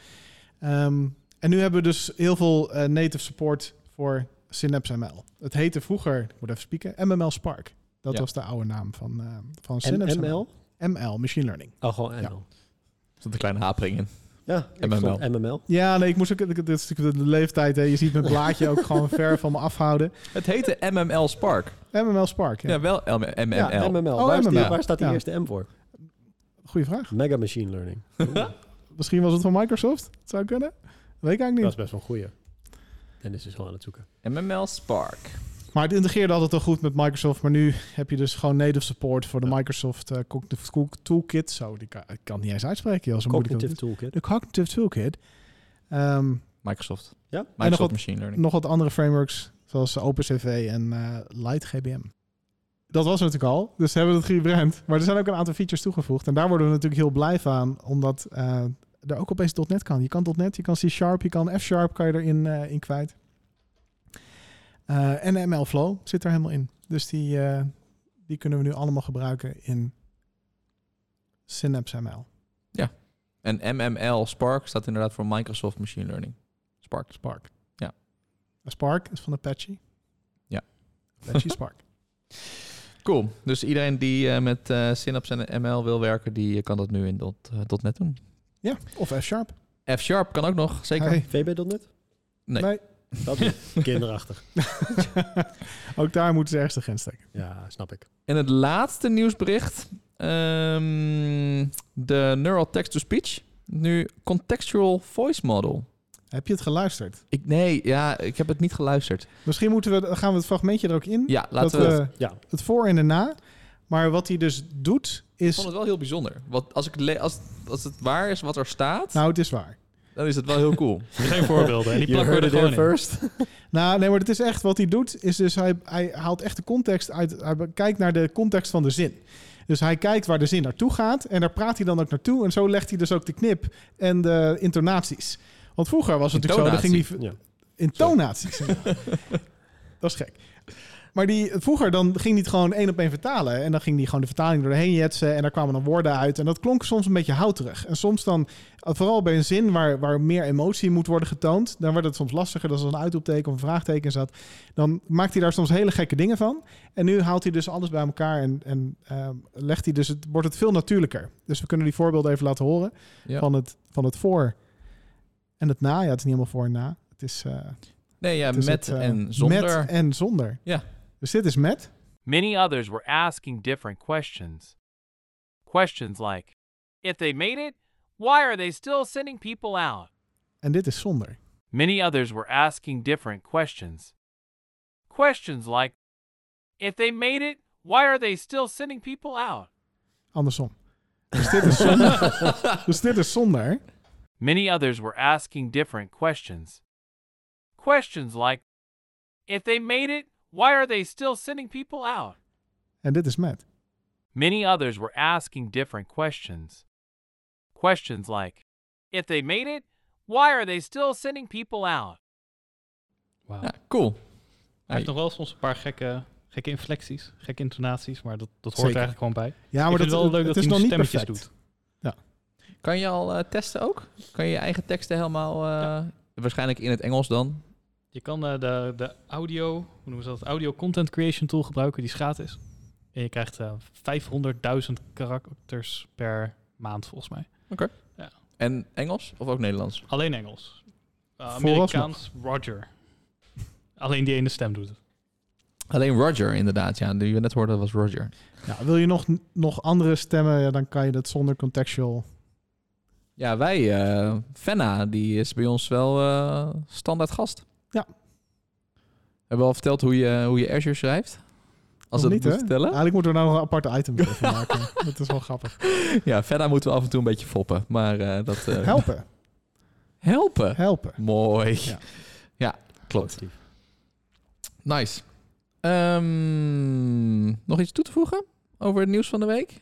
Speaker 5: Ehm, en nu hebben we dus heel veel eh, native support voor Synapse ML. Het heette vroeger, ik moet even spieken, MML Spark. Dat
Speaker 2: Ja.
Speaker 5: was de oude naam van, eh, van
Speaker 4: En
Speaker 5: Synapse
Speaker 4: ML?
Speaker 5: ML, Machine Learning.
Speaker 4: Oh, gewoon ML.
Speaker 5: Ja.
Speaker 4: Ja,
Speaker 2: Er zat een kleine hapering in.
Speaker 4: ik
Speaker 2: MML.
Speaker 4: stond MML.
Speaker 5: Ja, nee, ik moest ook. Dit is natuurlijk de leeftijd. Hè. Je ziet mijn blaadje ook gewoon ver van me afhouden.
Speaker 2: Het heette MML Spark.
Speaker 5: MML Spark. Ja.
Speaker 2: Ja, wel M- MML.
Speaker 5: Ja,
Speaker 4: MML.
Speaker 5: Oh,
Speaker 4: waar, is die-
Speaker 5: MML.
Speaker 4: waar staat die
Speaker 5: Ja.
Speaker 4: eerste M voor?
Speaker 5: Goeie vraag.
Speaker 4: Mega Machine Learning.
Speaker 5: Misschien was het van Microsoft. Het zou kunnen. Weet ik eigenlijk
Speaker 4: Dat
Speaker 5: niet.
Speaker 4: is best wel een goeie. Dennis is gewoon aan het zoeken.
Speaker 2: MML Spark.
Speaker 5: Maar het integreerde altijd al goed met Microsoft. Maar nu heb je dus gewoon native support voor de
Speaker 4: Ja.
Speaker 5: Microsoft eh, Cognitive Tool- Toolkit. Zo, die kan, ik kan het niet eens uitspreken. Joh, zo moeilijk dat
Speaker 4: Cognitive
Speaker 5: het
Speaker 4: Toolkit.
Speaker 5: is. De Cognitive Toolkit. Ehm,
Speaker 2: Microsoft.
Speaker 4: Ja.
Speaker 5: En nog
Speaker 2: Microsoft
Speaker 5: wat-
Speaker 2: Machine Learning.
Speaker 5: nog wat andere frameworks, zoals OpenCV en eh LightGBM. Dat was het natuurlijk al, dus ze hebben het gebrand. Maar er zijn ook een aantal features toegevoegd. En daar worden we natuurlijk heel blij van, omdat eh, er ook opeens .NET kan. Je kan .NET, je kan C-Sharp, je kan F-Sharp kan je erin eh, in kwijt. Eh, en ML Flow zit er helemaal in. Dus die, eh, die kunnen we nu allemaal gebruiken in Synapse ML.
Speaker 2: En MML Spark staat inderdaad voor Microsoft Machine Learning. Spark. Spark.
Speaker 5: Spark is van Apache.
Speaker 2: Ja.
Speaker 5: Apache Spark.
Speaker 2: Cool. Dus iedereen die eh, met eh, Synapse en ML wil werken, die eh, kan dat nu in dot, eh, .NET doen.
Speaker 5: ja, of F-Sharp.
Speaker 2: F-Sharp kan ook nog, zeker.
Speaker 5: Hey.
Speaker 4: VB.net?
Speaker 2: Nee.
Speaker 5: Nee.
Speaker 4: Dat is kinderachtig.
Speaker 5: Ook daar moeten ze ergens de grens steken.
Speaker 4: Ja, snap ik.
Speaker 2: En het laatste nieuwsbericht. ehm, de Neural Text-to-Speech. Nu Contextual Voice Model.
Speaker 5: Heb je het geluisterd?
Speaker 2: Ik, nee, ja, ik heb het niet geluisterd.
Speaker 5: Misschien moeten we, dan gaan we het fragmentje er ook in.
Speaker 2: Ja, laten
Speaker 5: Hm? dat eh,
Speaker 2: we...
Speaker 5: we
Speaker 4: Ja.
Speaker 5: het voor en de na. Maar wat hij dus doet
Speaker 2: Ik
Speaker 5: is...
Speaker 2: vond het wel heel bijzonder. Want als, ik le- als, als het waar is wat er staat,
Speaker 5: Nou, het is waar.
Speaker 2: dan is het wel heel cool.
Speaker 3: Geen voorbeelden. En die
Speaker 4: You
Speaker 3: plakken we
Speaker 4: heard
Speaker 3: er
Speaker 4: it here
Speaker 3: gewoon in.
Speaker 4: first.
Speaker 5: Nou, nee, maar het is echt wat hij doet. Is dus hij, hij haalt echt de context uit. Hij be- kijkt naar de context van de zin. Dus hij kijkt waar de zin naartoe gaat. En daar praat hij dan ook naartoe. En zo legt hij dus ook de knip en de intonaties. Want vroeger was het natuurlijk zo. Dan ging
Speaker 2: Intonatie.
Speaker 5: die,
Speaker 4: Ja.
Speaker 5: Intonaties. dat is gek. Maar die, vroeger dan ging hij het gewoon één op één vertalen. En dan ging hij gewoon de vertaling doorheen jetsen. En daar kwamen dan woorden uit. En dat klonk soms een beetje houterig. En soms dan, eh, vooral bij een zin waar, waar meer emotie moet worden getoond... dan werd het soms lastiger. Dat als er een uitroepteken of een vraagteken zat. Dan maakt hij daar soms hele gekke dingen van. En nu haalt hij dus alles bij elkaar. En, en ehm, legt hij dus het, wordt het veel natuurlijker. Dus we kunnen die voorbeelden even laten horen.
Speaker 2: Ja.
Speaker 5: Van, het, van het voor en het na. Ja, het is niet helemaal voor en na. Het is... eh,
Speaker 2: Nee, ja,
Speaker 5: het
Speaker 2: met
Speaker 5: is het, eh,
Speaker 2: en zonder.
Speaker 5: Met en zonder.
Speaker 2: Ja.
Speaker 5: Dus dit is met.
Speaker 6: Many others were asking different questions. Questions like If they made it, why are they still sending people out?
Speaker 5: En dit is zonder.
Speaker 6: Many others were asking different questions. Questions like If they made it, why are they still sending people out?
Speaker 5: Andersom. Dus dit is zonder. dus dit is zonder.
Speaker 6: Many others were asking different questions. Questions like If they made it, why are they still sending people out?
Speaker 5: En dit is met.
Speaker 6: Many others were asking different questions. Questions like, if they made it, why are they still sending people out?
Speaker 3: Wauw.
Speaker 2: Ja, cool.
Speaker 3: Hij heeft
Speaker 2: Hey.
Speaker 3: nog wel soms een paar gekke, gekke inflecties, gekke intonaties, maar dat, dat hoort
Speaker 5: Zeker.
Speaker 3: er eigenlijk gewoon bij.
Speaker 5: Ja, maar
Speaker 3: Ik
Speaker 5: dat,
Speaker 3: vind het wel leuk dat
Speaker 5: het is
Speaker 3: hij
Speaker 5: nog
Speaker 3: nog
Speaker 5: niet
Speaker 3: stemmetjes
Speaker 5: perfect.
Speaker 3: doet.
Speaker 2: Kan je al eh, testen ook? Kan je je eigen teksten helemaal... eh, Waarschijnlijk in het Engels dan.
Speaker 3: Je kan eh, de, de audio, hoe noemen ze dat, audio content creation tool gebruiken, die is gratis. En je krijgt eh 500.000 karakters per maand volgens mij.
Speaker 2: En Engels of ook Nederlands?
Speaker 3: Alleen Engels. Eh,
Speaker 5: Vooralsnog.
Speaker 3: Amerikaans Roger. Alleen die ene stem doet het.
Speaker 2: Alleen Roger inderdaad. Ja, die we net hoorden was Roger.
Speaker 5: Ja, wil je nog, nog andere stemmen, ja, dan kan je dat zonder contextual.
Speaker 2: Ja, wij, eh Fenna, die is bij ons wel eh, standaard gast.
Speaker 5: Ja.
Speaker 2: Hebben we al verteld hoe je, hoe je Azure schrijft? Als
Speaker 5: Nog
Speaker 2: dat
Speaker 5: niet,
Speaker 2: moet
Speaker 5: hè?
Speaker 2: vertellen.
Speaker 5: Eigenlijk moeten we nou nog een aparte item voor van maken. dat is wel grappig.
Speaker 2: Ja, Fenna moeten we af en toe een beetje foppen. Maar eh, dat... eh,
Speaker 5: Helpen,
Speaker 2: Helpen.
Speaker 5: helpen.
Speaker 2: Mooi.
Speaker 5: Ja.
Speaker 2: Ja, klopt. Nice. Ehm, nog iets toe te voegen over het nieuws van de week?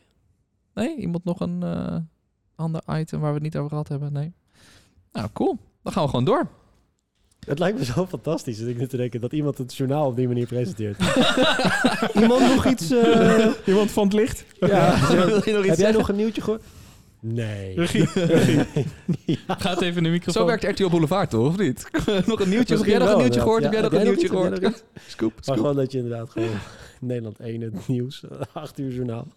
Speaker 2: Nee? Iemand nog een eh, ander item waar we het niet over gehad hebben? Nee? Nou, cool. Dan gaan we gewoon door.
Speaker 4: Het lijkt me zo fantastisch dat ik nu te denken dat iemand het journaal op die manier presenteert. iemand nog iets... eh,
Speaker 5: Iemand van het licht?
Speaker 4: ja,
Speaker 2: Wil je nog iets
Speaker 4: Heb jij
Speaker 2: zeggen?
Speaker 4: nog een nieuwtje gehoord? Nee.
Speaker 3: Gaat even in de microfoon.
Speaker 2: Zo werkt RTL Boulevard toch, of niet? nog een nieuwtje. Heb jij nog een
Speaker 4: Misschien wel,
Speaker 2: nieuwtje
Speaker 4: ja.
Speaker 2: gehoord? Heb
Speaker 4: Ja,
Speaker 2: jij nog
Speaker 4: heb
Speaker 2: een
Speaker 4: jij nog
Speaker 2: nieuwtje
Speaker 4: iets? Heb jij
Speaker 2: gehoord? Scoop,
Speaker 4: Maar
Speaker 2: scoop.
Speaker 4: gewoon dat je inderdaad gewoon Nederland 1 het nieuws, 8 uur journaal.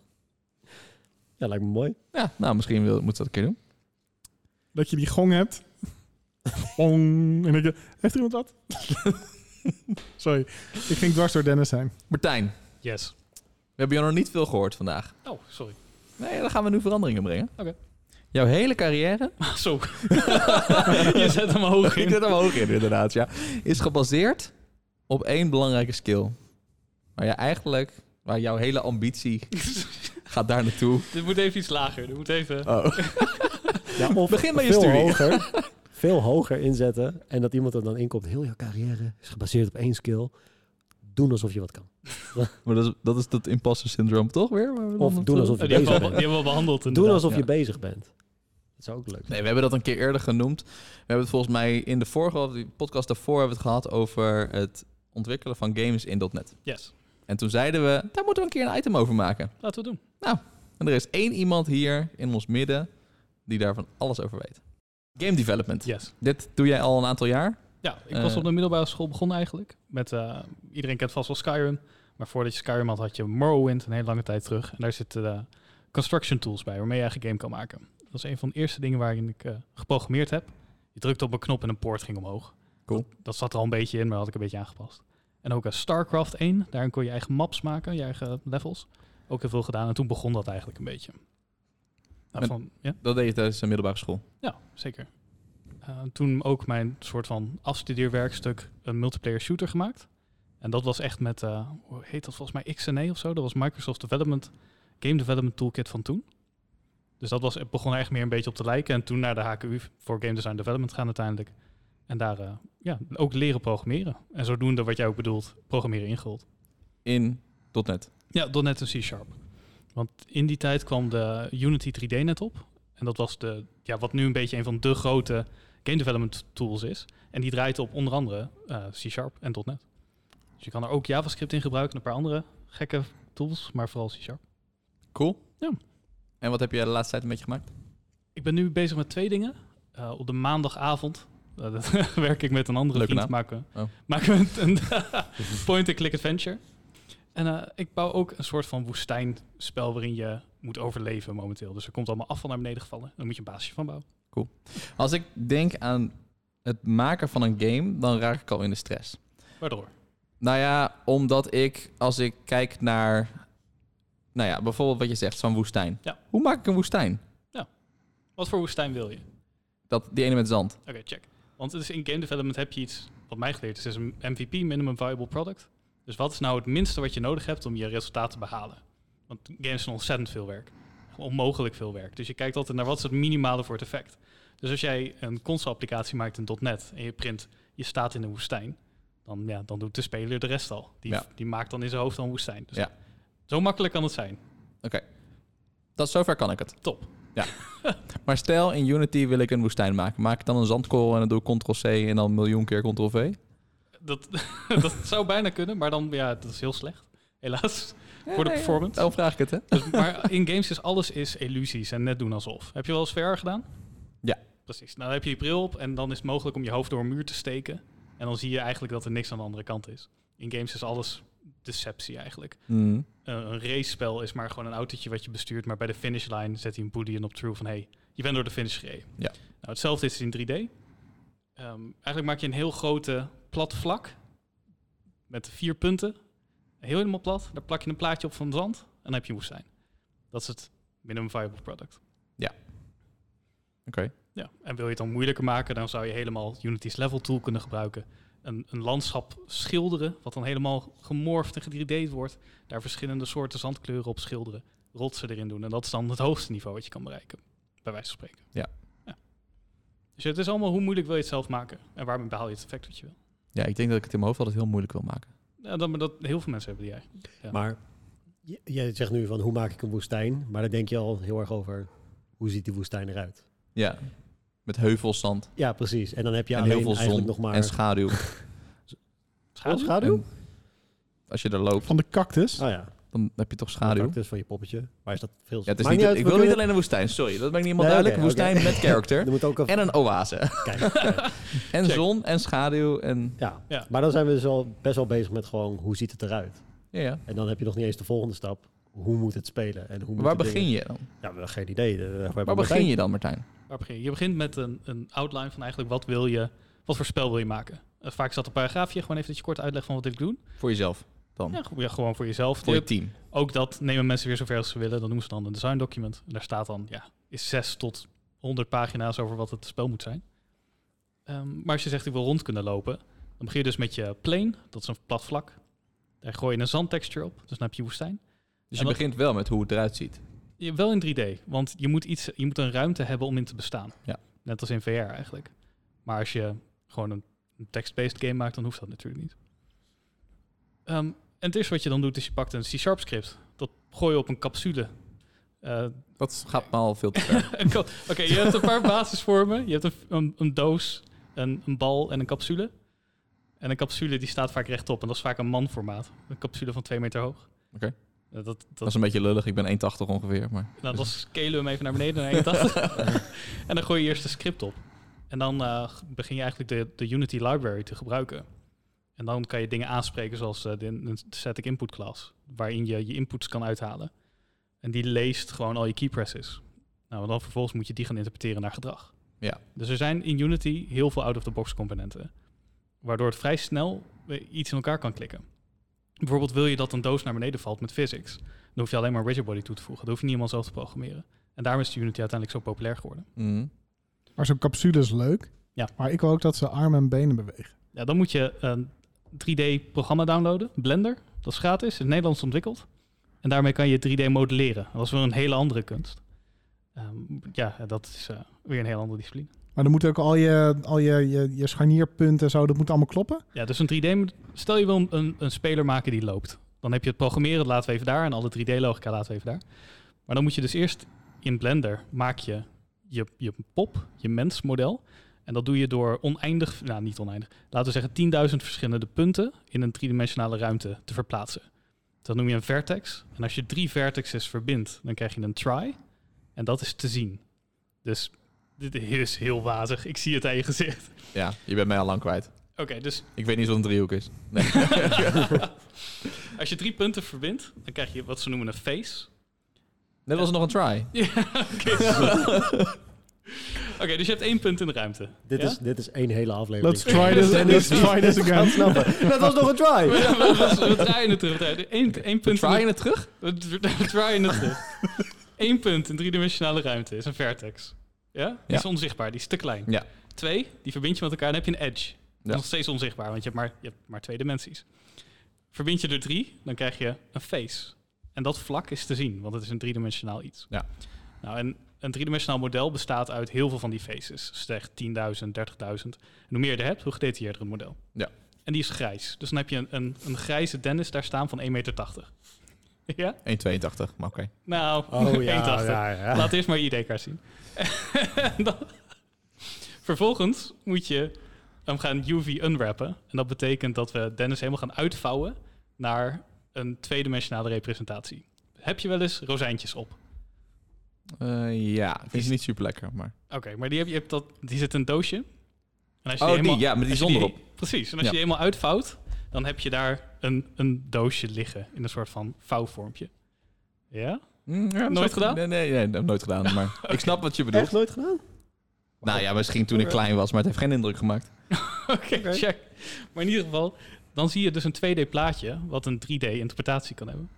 Speaker 4: Ja, lijkt me mooi.
Speaker 2: Ja, nou, misschien wil, moeten we dat een keer doen.
Speaker 5: Dat je die gong hebt. Ong. En dat je, heeft er iemand wat? Sorry, ik ging dwars door Dennis heen.
Speaker 2: Martijn, we
Speaker 3: Yes.
Speaker 2: hebben jou nog niet veel gehoord vandaag.
Speaker 3: Oh, sorry.
Speaker 2: Nee, dan gaan we nu veranderingen brengen.
Speaker 3: Oké.
Speaker 2: Jouw hele carrière
Speaker 3: Zo. je zet hem hoog
Speaker 2: Ik
Speaker 3: in.
Speaker 2: zit hem hoog in, inderdaad. Ja. Is gebaseerd op één belangrijke skill. Maar ja, eigenlijk, waar jouw hele ambitie gaat daar naartoe.
Speaker 3: Dit moet even iets lager. Dit moet even...
Speaker 2: Oh.
Speaker 4: Ja, of
Speaker 2: Begin met je
Speaker 4: veel
Speaker 2: studie.
Speaker 4: Hoger, veel hoger inzetten en dat iemand er dan inkomt. Heel jouw carrière is gebaseerd op één skill. Doen alsof je wat kan.
Speaker 2: Maar dat is dat, is dat imposter syndroom toch weer? waar we
Speaker 4: Of
Speaker 2: dan- Oh,
Speaker 4: doen alsof je
Speaker 3: Oh, die, hebben
Speaker 4: bezig
Speaker 3: we, al- die
Speaker 4: bent.
Speaker 3: hebben we al behandeld.
Speaker 4: Doen
Speaker 3: inderdaad.
Speaker 4: alsof
Speaker 2: ja.
Speaker 4: je bezig bent. Dat zou ook leuk zijn.
Speaker 2: Nee, we hebben dat een keer eerder genoemd. We hebben het volgens mij in de vorige of die podcast daarvoor hebben we het gehad over het ontwikkelen van games in .NET.
Speaker 3: Yes.
Speaker 2: En toen zeiden we, daar moeten we een keer een item over maken.
Speaker 3: Laten we het doen.
Speaker 2: En er is één iemand hier in ons midden die daar van alles over weet. Game development.
Speaker 3: Yes.
Speaker 2: Dit doe jij al een aantal jaar.
Speaker 3: Ja, ik
Speaker 2: Eh,
Speaker 3: was op de middelbare school begonnen eigenlijk. Met, eh, iedereen kent vast wel Skyrim. Maar voordat je Skyrim had, had je Morrowind een hele lange tijd terug. En daar zitten eh, construction tools bij, waarmee je eigen game kan maken. Dat is een van de eerste dingen waarin ik eh, geprogrammeerd heb. Je drukte op een knop en een poort ging omhoog.
Speaker 2: Cool.
Speaker 3: Dat, dat zat er al een beetje in, maar dat had ik een beetje aangepast. En ook eh, StarCraft 1, daarin kon je eigen maps maken, je eigen levels. Ook heel veel gedaan en toen begon dat eigenlijk een beetje. Nou,
Speaker 2: En-
Speaker 3: van, ja?
Speaker 2: Dat deed je tijdens de middelbare school.
Speaker 3: Ja, zeker. Eh, toen ook mijn soort van afstudeerwerkstuk een multiplayer shooter gemaakt. En dat was echt met, eh, hoe heet dat volgens mij, XNE of zo. Dat was Microsoft Development, Game Development Toolkit van toen. Dus dat was, het begon er echt meer een beetje op te lijken. En toen naar de HKU voor Game Design Development gaan uiteindelijk. En daar eh, ja, ook leren programmeren. En zodoende, wat jij ook bedoelt, programmeren ingehold.
Speaker 2: in .NET.
Speaker 3: Ja, .NET en C-Sharp. Want in die tijd kwam de Unity 3D net op. En dat was de, ja, wat nu een beetje een van de grote game development tools is. En die draait op onder andere eh, C-Sharp en .NET. Dus je kan er ook JavaScript in gebruiken en een paar andere gekke tools, maar vooral C-Sharp.
Speaker 2: Cool.
Speaker 3: Ja.
Speaker 2: En wat heb je de laatste tijd een beetje gemaakt?
Speaker 3: Ik ben nu bezig met twee dingen. Eh, op de maandagavond eh, dat werk ik met een andere
Speaker 2: Leuke
Speaker 3: vriend.
Speaker 2: naam.
Speaker 3: Maken, we-
Speaker 2: Oh.
Speaker 3: maken we een point-and-click adventure. En eh, ik bouw ook een soort van woestijnspel waarin je moet overleven momenteel. Dus er komt allemaal afval naar beneden gevallen. Dan moet je een basisje van bouwen.
Speaker 2: Als ik denk aan het maken van een game, dan raak ik al in de stress.
Speaker 3: Waardoor?
Speaker 2: Nou ja, omdat ik, als ik kijk naar, nou ja, bijvoorbeeld wat je zegt, zo'n woestijn.
Speaker 3: Ja.
Speaker 2: Hoe maak ik een woestijn?
Speaker 3: Wat voor woestijn wil je?
Speaker 2: Dat, die ene met zand.
Speaker 3: Oké, check. Want het is in game development heb je iets, wat mij geleerd is, is een MVP, Minimum Viable Product. Dus wat is nou het minste wat je nodig hebt om je resultaat te behalen? Want games zijn ontzettend veel werk. Onmogelijk veel werk. Dus je kijkt altijd naar wat is het minimale voor het effect. Dus als jij een console-applicatie maakt in .NET en je print, je staat in een woestijn, dan, ja, dan doet de speler de rest al. Die,
Speaker 2: Ja.
Speaker 3: die maakt dan in zijn hoofd al een woestijn. Dus
Speaker 2: Ja.
Speaker 3: Zo makkelijk kan het zijn.
Speaker 2: Dat zover kan ik het.
Speaker 3: Top.
Speaker 2: Ja. maar stel, in Unity wil ik een woestijn maken. Maak ik dan een zandkorrel en dan doe ik ctrl-c en dan een miljoen keer ctrl-v?
Speaker 3: Dat, dat zou bijna kunnen, maar dan, ja, dat is heel slecht. Helaas, voor de performance.
Speaker 2: Daarom vraag ik het, hè?
Speaker 3: Dus, maar in games is alles is illusies en net doen alsof. Heb je wel eens VR gedaan?
Speaker 2: Ja.
Speaker 3: Precies. Nou, dan heb je die bril op en dan is het mogelijk om je hoofd door een muur te steken. En dan zie je eigenlijk dat er niks aan de andere kant is. In games is alles deceptie eigenlijk.
Speaker 2: Hmm.
Speaker 3: Eh, een racespel is maar gewoon een autootje wat je bestuurt, maar bij de finishlijn zet hij een boolean op true van hey, je bent door de finish gereden.
Speaker 2: Ja.
Speaker 3: Nou, hetzelfde is in 3D. Ehm, eigenlijk maak je een heel grote plat vlak met vier punten. Heel helemaal plat. Daar plak je een plaatje op van het zand en dan heb je een woestijn. Dat is het minimum viable product.
Speaker 2: Oké.
Speaker 3: Ja. En wil je het dan moeilijker maken, dan zou je helemaal Unity's level tool kunnen gebruiken. Een, een landschap schilderen, wat dan helemaal gemorfd en 3 d wordt. Daar verschillende soorten zandkleuren op schilderen. Rotsen erin doen. En dat is dan het hoogste niveau wat je kan bereiken. Bij wijze van spreken.
Speaker 2: Ja.
Speaker 3: ja. Dus het is allemaal hoe moeilijk wil je het zelf maken. En waarmee behaal je het effect wat je wil.
Speaker 2: Ja, ik denk dat ik het in mijn hoofd altijd heel moeilijk wil maken.
Speaker 3: Ja, dat, maar dat, heel veel mensen hebben die eigenlijk. Ja.
Speaker 4: Maar j- jij zegt nu van hoe maak ik een woestijn? Maar dan denk je al heel erg over hoe ziet die woestijn eruit?
Speaker 2: Ja. Met heuvels, zand
Speaker 4: Ja, precies. En dan heb je
Speaker 2: en
Speaker 4: alleen
Speaker 2: heel veel zon
Speaker 4: eigenlijk nog maar...
Speaker 2: en schaduw.
Speaker 4: Oh, schaduw?
Speaker 2: En als je er loopt,
Speaker 5: Van de cactus.
Speaker 4: Oh ja,
Speaker 2: dan heb je toch
Speaker 4: schaduw.
Speaker 2: schaduw.
Speaker 4: dus van je poppetje. Maar is dat veel...
Speaker 2: Ja, het is
Speaker 4: Maakt
Speaker 2: niet,
Speaker 4: uit,
Speaker 2: ik
Speaker 4: we
Speaker 2: wil niet
Speaker 4: kunnen-
Speaker 2: alleen een woestijn, sorry. Dat ben ik niet helemaal
Speaker 4: Nee,
Speaker 2: duidelijk.
Speaker 4: oké,
Speaker 2: Een woestijn
Speaker 4: oké.
Speaker 2: met character.
Speaker 4: Er moet ook
Speaker 2: en
Speaker 4: een...
Speaker 2: een oase.
Speaker 4: Kijk, kijk.
Speaker 2: En
Speaker 3: Check.
Speaker 2: zon en schaduw en...
Speaker 4: Ja.
Speaker 3: Ja.
Speaker 4: maar dan zijn we dus al best wel bezig met gewoon hoe ziet het eruit?
Speaker 2: Ja, ja.
Speaker 4: En dan heb je nog niet eens de volgende stap. Hoe moet het spelen? En hoe
Speaker 2: Maar Waar begin je dan?
Speaker 4: Ja, we hebben geen idee. Eh, we hebben
Speaker 2: Waar begin
Speaker 4: meteen-
Speaker 2: je dan, Martijn?
Speaker 3: Waar begin je? Je begint met een, een outline van eigenlijk wat wil je, wat voor spel wil je maken. Eh, vaak is dat een paragraafje, gewoon even dat je kort uitlegt van wat wil ik doen.
Speaker 2: Voor jezelf dan?
Speaker 3: Ja, go- ja, gewoon voor jezelf.
Speaker 2: Voor je
Speaker 3: Je-
Speaker 2: team? Dus
Speaker 3: Ook dat nemen mensen weer zover als ze willen. Dan noemen ze dan een design document. En daar staat dan, ja, is 6 tot 100 pagina's over wat het spel moet zijn. Ehm, maar als je zegt, ik wil rond kunnen lopen, dan begin je dus met je plane. Dat is een plat vlak. Daar gooi je een zandtexture op, dus dan heb je woestijn.
Speaker 2: Dus
Speaker 3: En
Speaker 2: je
Speaker 3: dat-
Speaker 2: begint wel met hoe het eruit ziet.
Speaker 3: Je, wel in 3D, want je moet, iets, je moet een ruimte hebben om in te bestaan.
Speaker 2: Ja.
Speaker 3: Net als in VR eigenlijk. Maar als je gewoon een, een text-based game maakt, dan hoeft dat natuurlijk niet. Ehm, en het eerste wat je dan doet, is je pakt een C-sharp script. Dat gooi je op een capsule. Eh,
Speaker 2: Dat gaat me al veel te ver.
Speaker 3: een kap- Oké, je hebt een paar basisvormen. Je hebt een, een, een doos, een, een bal en een capsule. En een capsule die staat vaak rechtop. En dat is vaak een manformaat. Een capsule van 2 meter hoog.
Speaker 2: Oké.
Speaker 3: Eh, dat, dat,
Speaker 2: Dat is een beetje lullig. Ik ben 1,80 ongeveer. Maar...
Speaker 3: nou, dan scalen we hem even naar beneden naar 81. en dan gooi je eerst de script op. En dan eh, begin je eigenlijk de, de Unity library te gebruiken. En dan kan je dingen aanspreken zoals eh, de, de static input class, waarin je je inputs kan uithalen. En die leest gewoon al je keypresses. Nou, en dan vervolgens moet je die gaan interpreteren naar gedrag.
Speaker 2: Ja.
Speaker 3: Dus er zijn in Unity heel veel out-of-the-box componenten, waardoor het vrij snel eh, iets in elkaar kan klikken. Bijvoorbeeld wil je dat een doos naar beneden valt met physics. Dan hoef je alleen maar rigid body toe te voegen. Dan hoef je niet helemaal zelf te programmeren. En daarom is de Unity uiteindelijk zo populair geworden.
Speaker 2: Mhm.
Speaker 5: Maar zo'n capsule is leuk.
Speaker 3: Ja.
Speaker 5: Maar ik wil ook dat ze armen en benen bewegen.
Speaker 3: Ja, dan moet je een 3D-programma downloaden, Blender. Dat is gratis, is Nederlands ontwikkeld. En daarmee kan je 3D modelleren. Dat is wel een hele andere kunst. Ehm, ja, dat is eh, weer een heel andere discipline.
Speaker 5: Maar dan moeten ook al je, al je, je, je scharnierpunten en zo, dat moet allemaal kloppen.
Speaker 3: Ja, dus een 3D... Stel je wil een- een, een speler maken die loopt. Dan heb je het programmeren, dat laten we even daar. En alle 3D-logica laten we even daar. Maar dan moet je dus eerst in Blender maak je je, je pop, je mensmodel. En dat doe je door oneindig, nou niet oneindig, laten we zeggen 10.000 verschillende punten in een driedimensionale ruimte te verplaatsen. Dat noem je een vertex. En als je drie vertexes verbindt, dan krijg je een try. En dat is te zien. Dus dit is heel wazig. Ik zie het aan je gezicht.
Speaker 2: Ja, je bent mij al lang kwijt.
Speaker 3: Oké, dus
Speaker 2: Ik weet niet wat een driehoek is. Nee.
Speaker 3: Als je drie punten verbindt, dan krijg je wat ze noemen een face.
Speaker 2: Net was er nog een try.
Speaker 3: Ja, oké. Oké, dus je hebt één punt in de ruimte.
Speaker 4: Dit,
Speaker 3: Ja?
Speaker 4: is, dit is één hele aflevering.
Speaker 5: Let's try this, let's try this
Speaker 4: Gaan
Speaker 5: again.
Speaker 4: snappen. Dat was nog een try.
Speaker 3: We, we, we draaien het terug. we draaien- Eén, één
Speaker 2: We
Speaker 3: punt
Speaker 2: tryen
Speaker 3: in
Speaker 2: het terug?
Speaker 3: de, we, we draaien het terug. Eén punt in driedimensionale ruimte is een vertex. Ja? Die
Speaker 2: Ja.
Speaker 3: is onzichtbaar, die is te klein.
Speaker 2: Ja.
Speaker 3: Twee, die verbind je met elkaar, dan heb je een edge. Dat
Speaker 2: Ja.
Speaker 3: is nog steeds onzichtbaar, want je hebt, maar, je hebt maar twee dimensies. Verbind je er drie, dan krijg je een face. En dat vlak is te zien, want het is een driedimensionaal iets.
Speaker 2: Ja.
Speaker 3: Nou, en een driedimensionaal model bestaat uit heel veel van die faces. Dus echt 10.000, 30.000. En hoe meer je er hebt, hoe gedetailleerder het model.
Speaker 2: Ja.
Speaker 3: En die is grijs. Dus dan heb je een, een, een grijze Dennis daar staan van 1,80 meter. Ja?
Speaker 2: 1,82, maar oké.
Speaker 3: Nou,
Speaker 4: Oh ja,
Speaker 3: 81.
Speaker 4: ja, ja.
Speaker 3: Laat eerst maar je ID-kaart zien. En dan- Vervolgens moet je hem gaan UV unwrappen. En dat betekent dat we Dennis helemaal gaan uitvouwen naar een tweedimensionale representatie. Heb je wel eens rozijntjes op?
Speaker 2: Eh, ja, Oh, ik vind het niet super lekker, maar...
Speaker 3: Oké, maar die, heb je, je hebt dat, die zit in een doosje. En als
Speaker 2: Oh, die, ja, met die
Speaker 3: als je
Speaker 2: zon erop.
Speaker 3: Precies, en als
Speaker 2: Ja.
Speaker 3: je die eenmaal uitvouwt, dan heb je daar een, een doosje liggen in een soort van vouwvormpje. Ja?
Speaker 2: Mm, ja,
Speaker 3: Nooit
Speaker 2: zo-
Speaker 3: gedaan?
Speaker 2: Nee, nee, nee, dat heb ik nooit gedaan. Maar ik snap wat je bedoelt.
Speaker 4: Echt nooit gedaan?
Speaker 2: Nou ja, misschien toen ik klein was, maar het heeft geen indruk gemaakt.
Speaker 3: Oké, check. Maar in ieder geval, dan zie je dus een 2D plaatje, wat een 3D interpretatie kan hebben.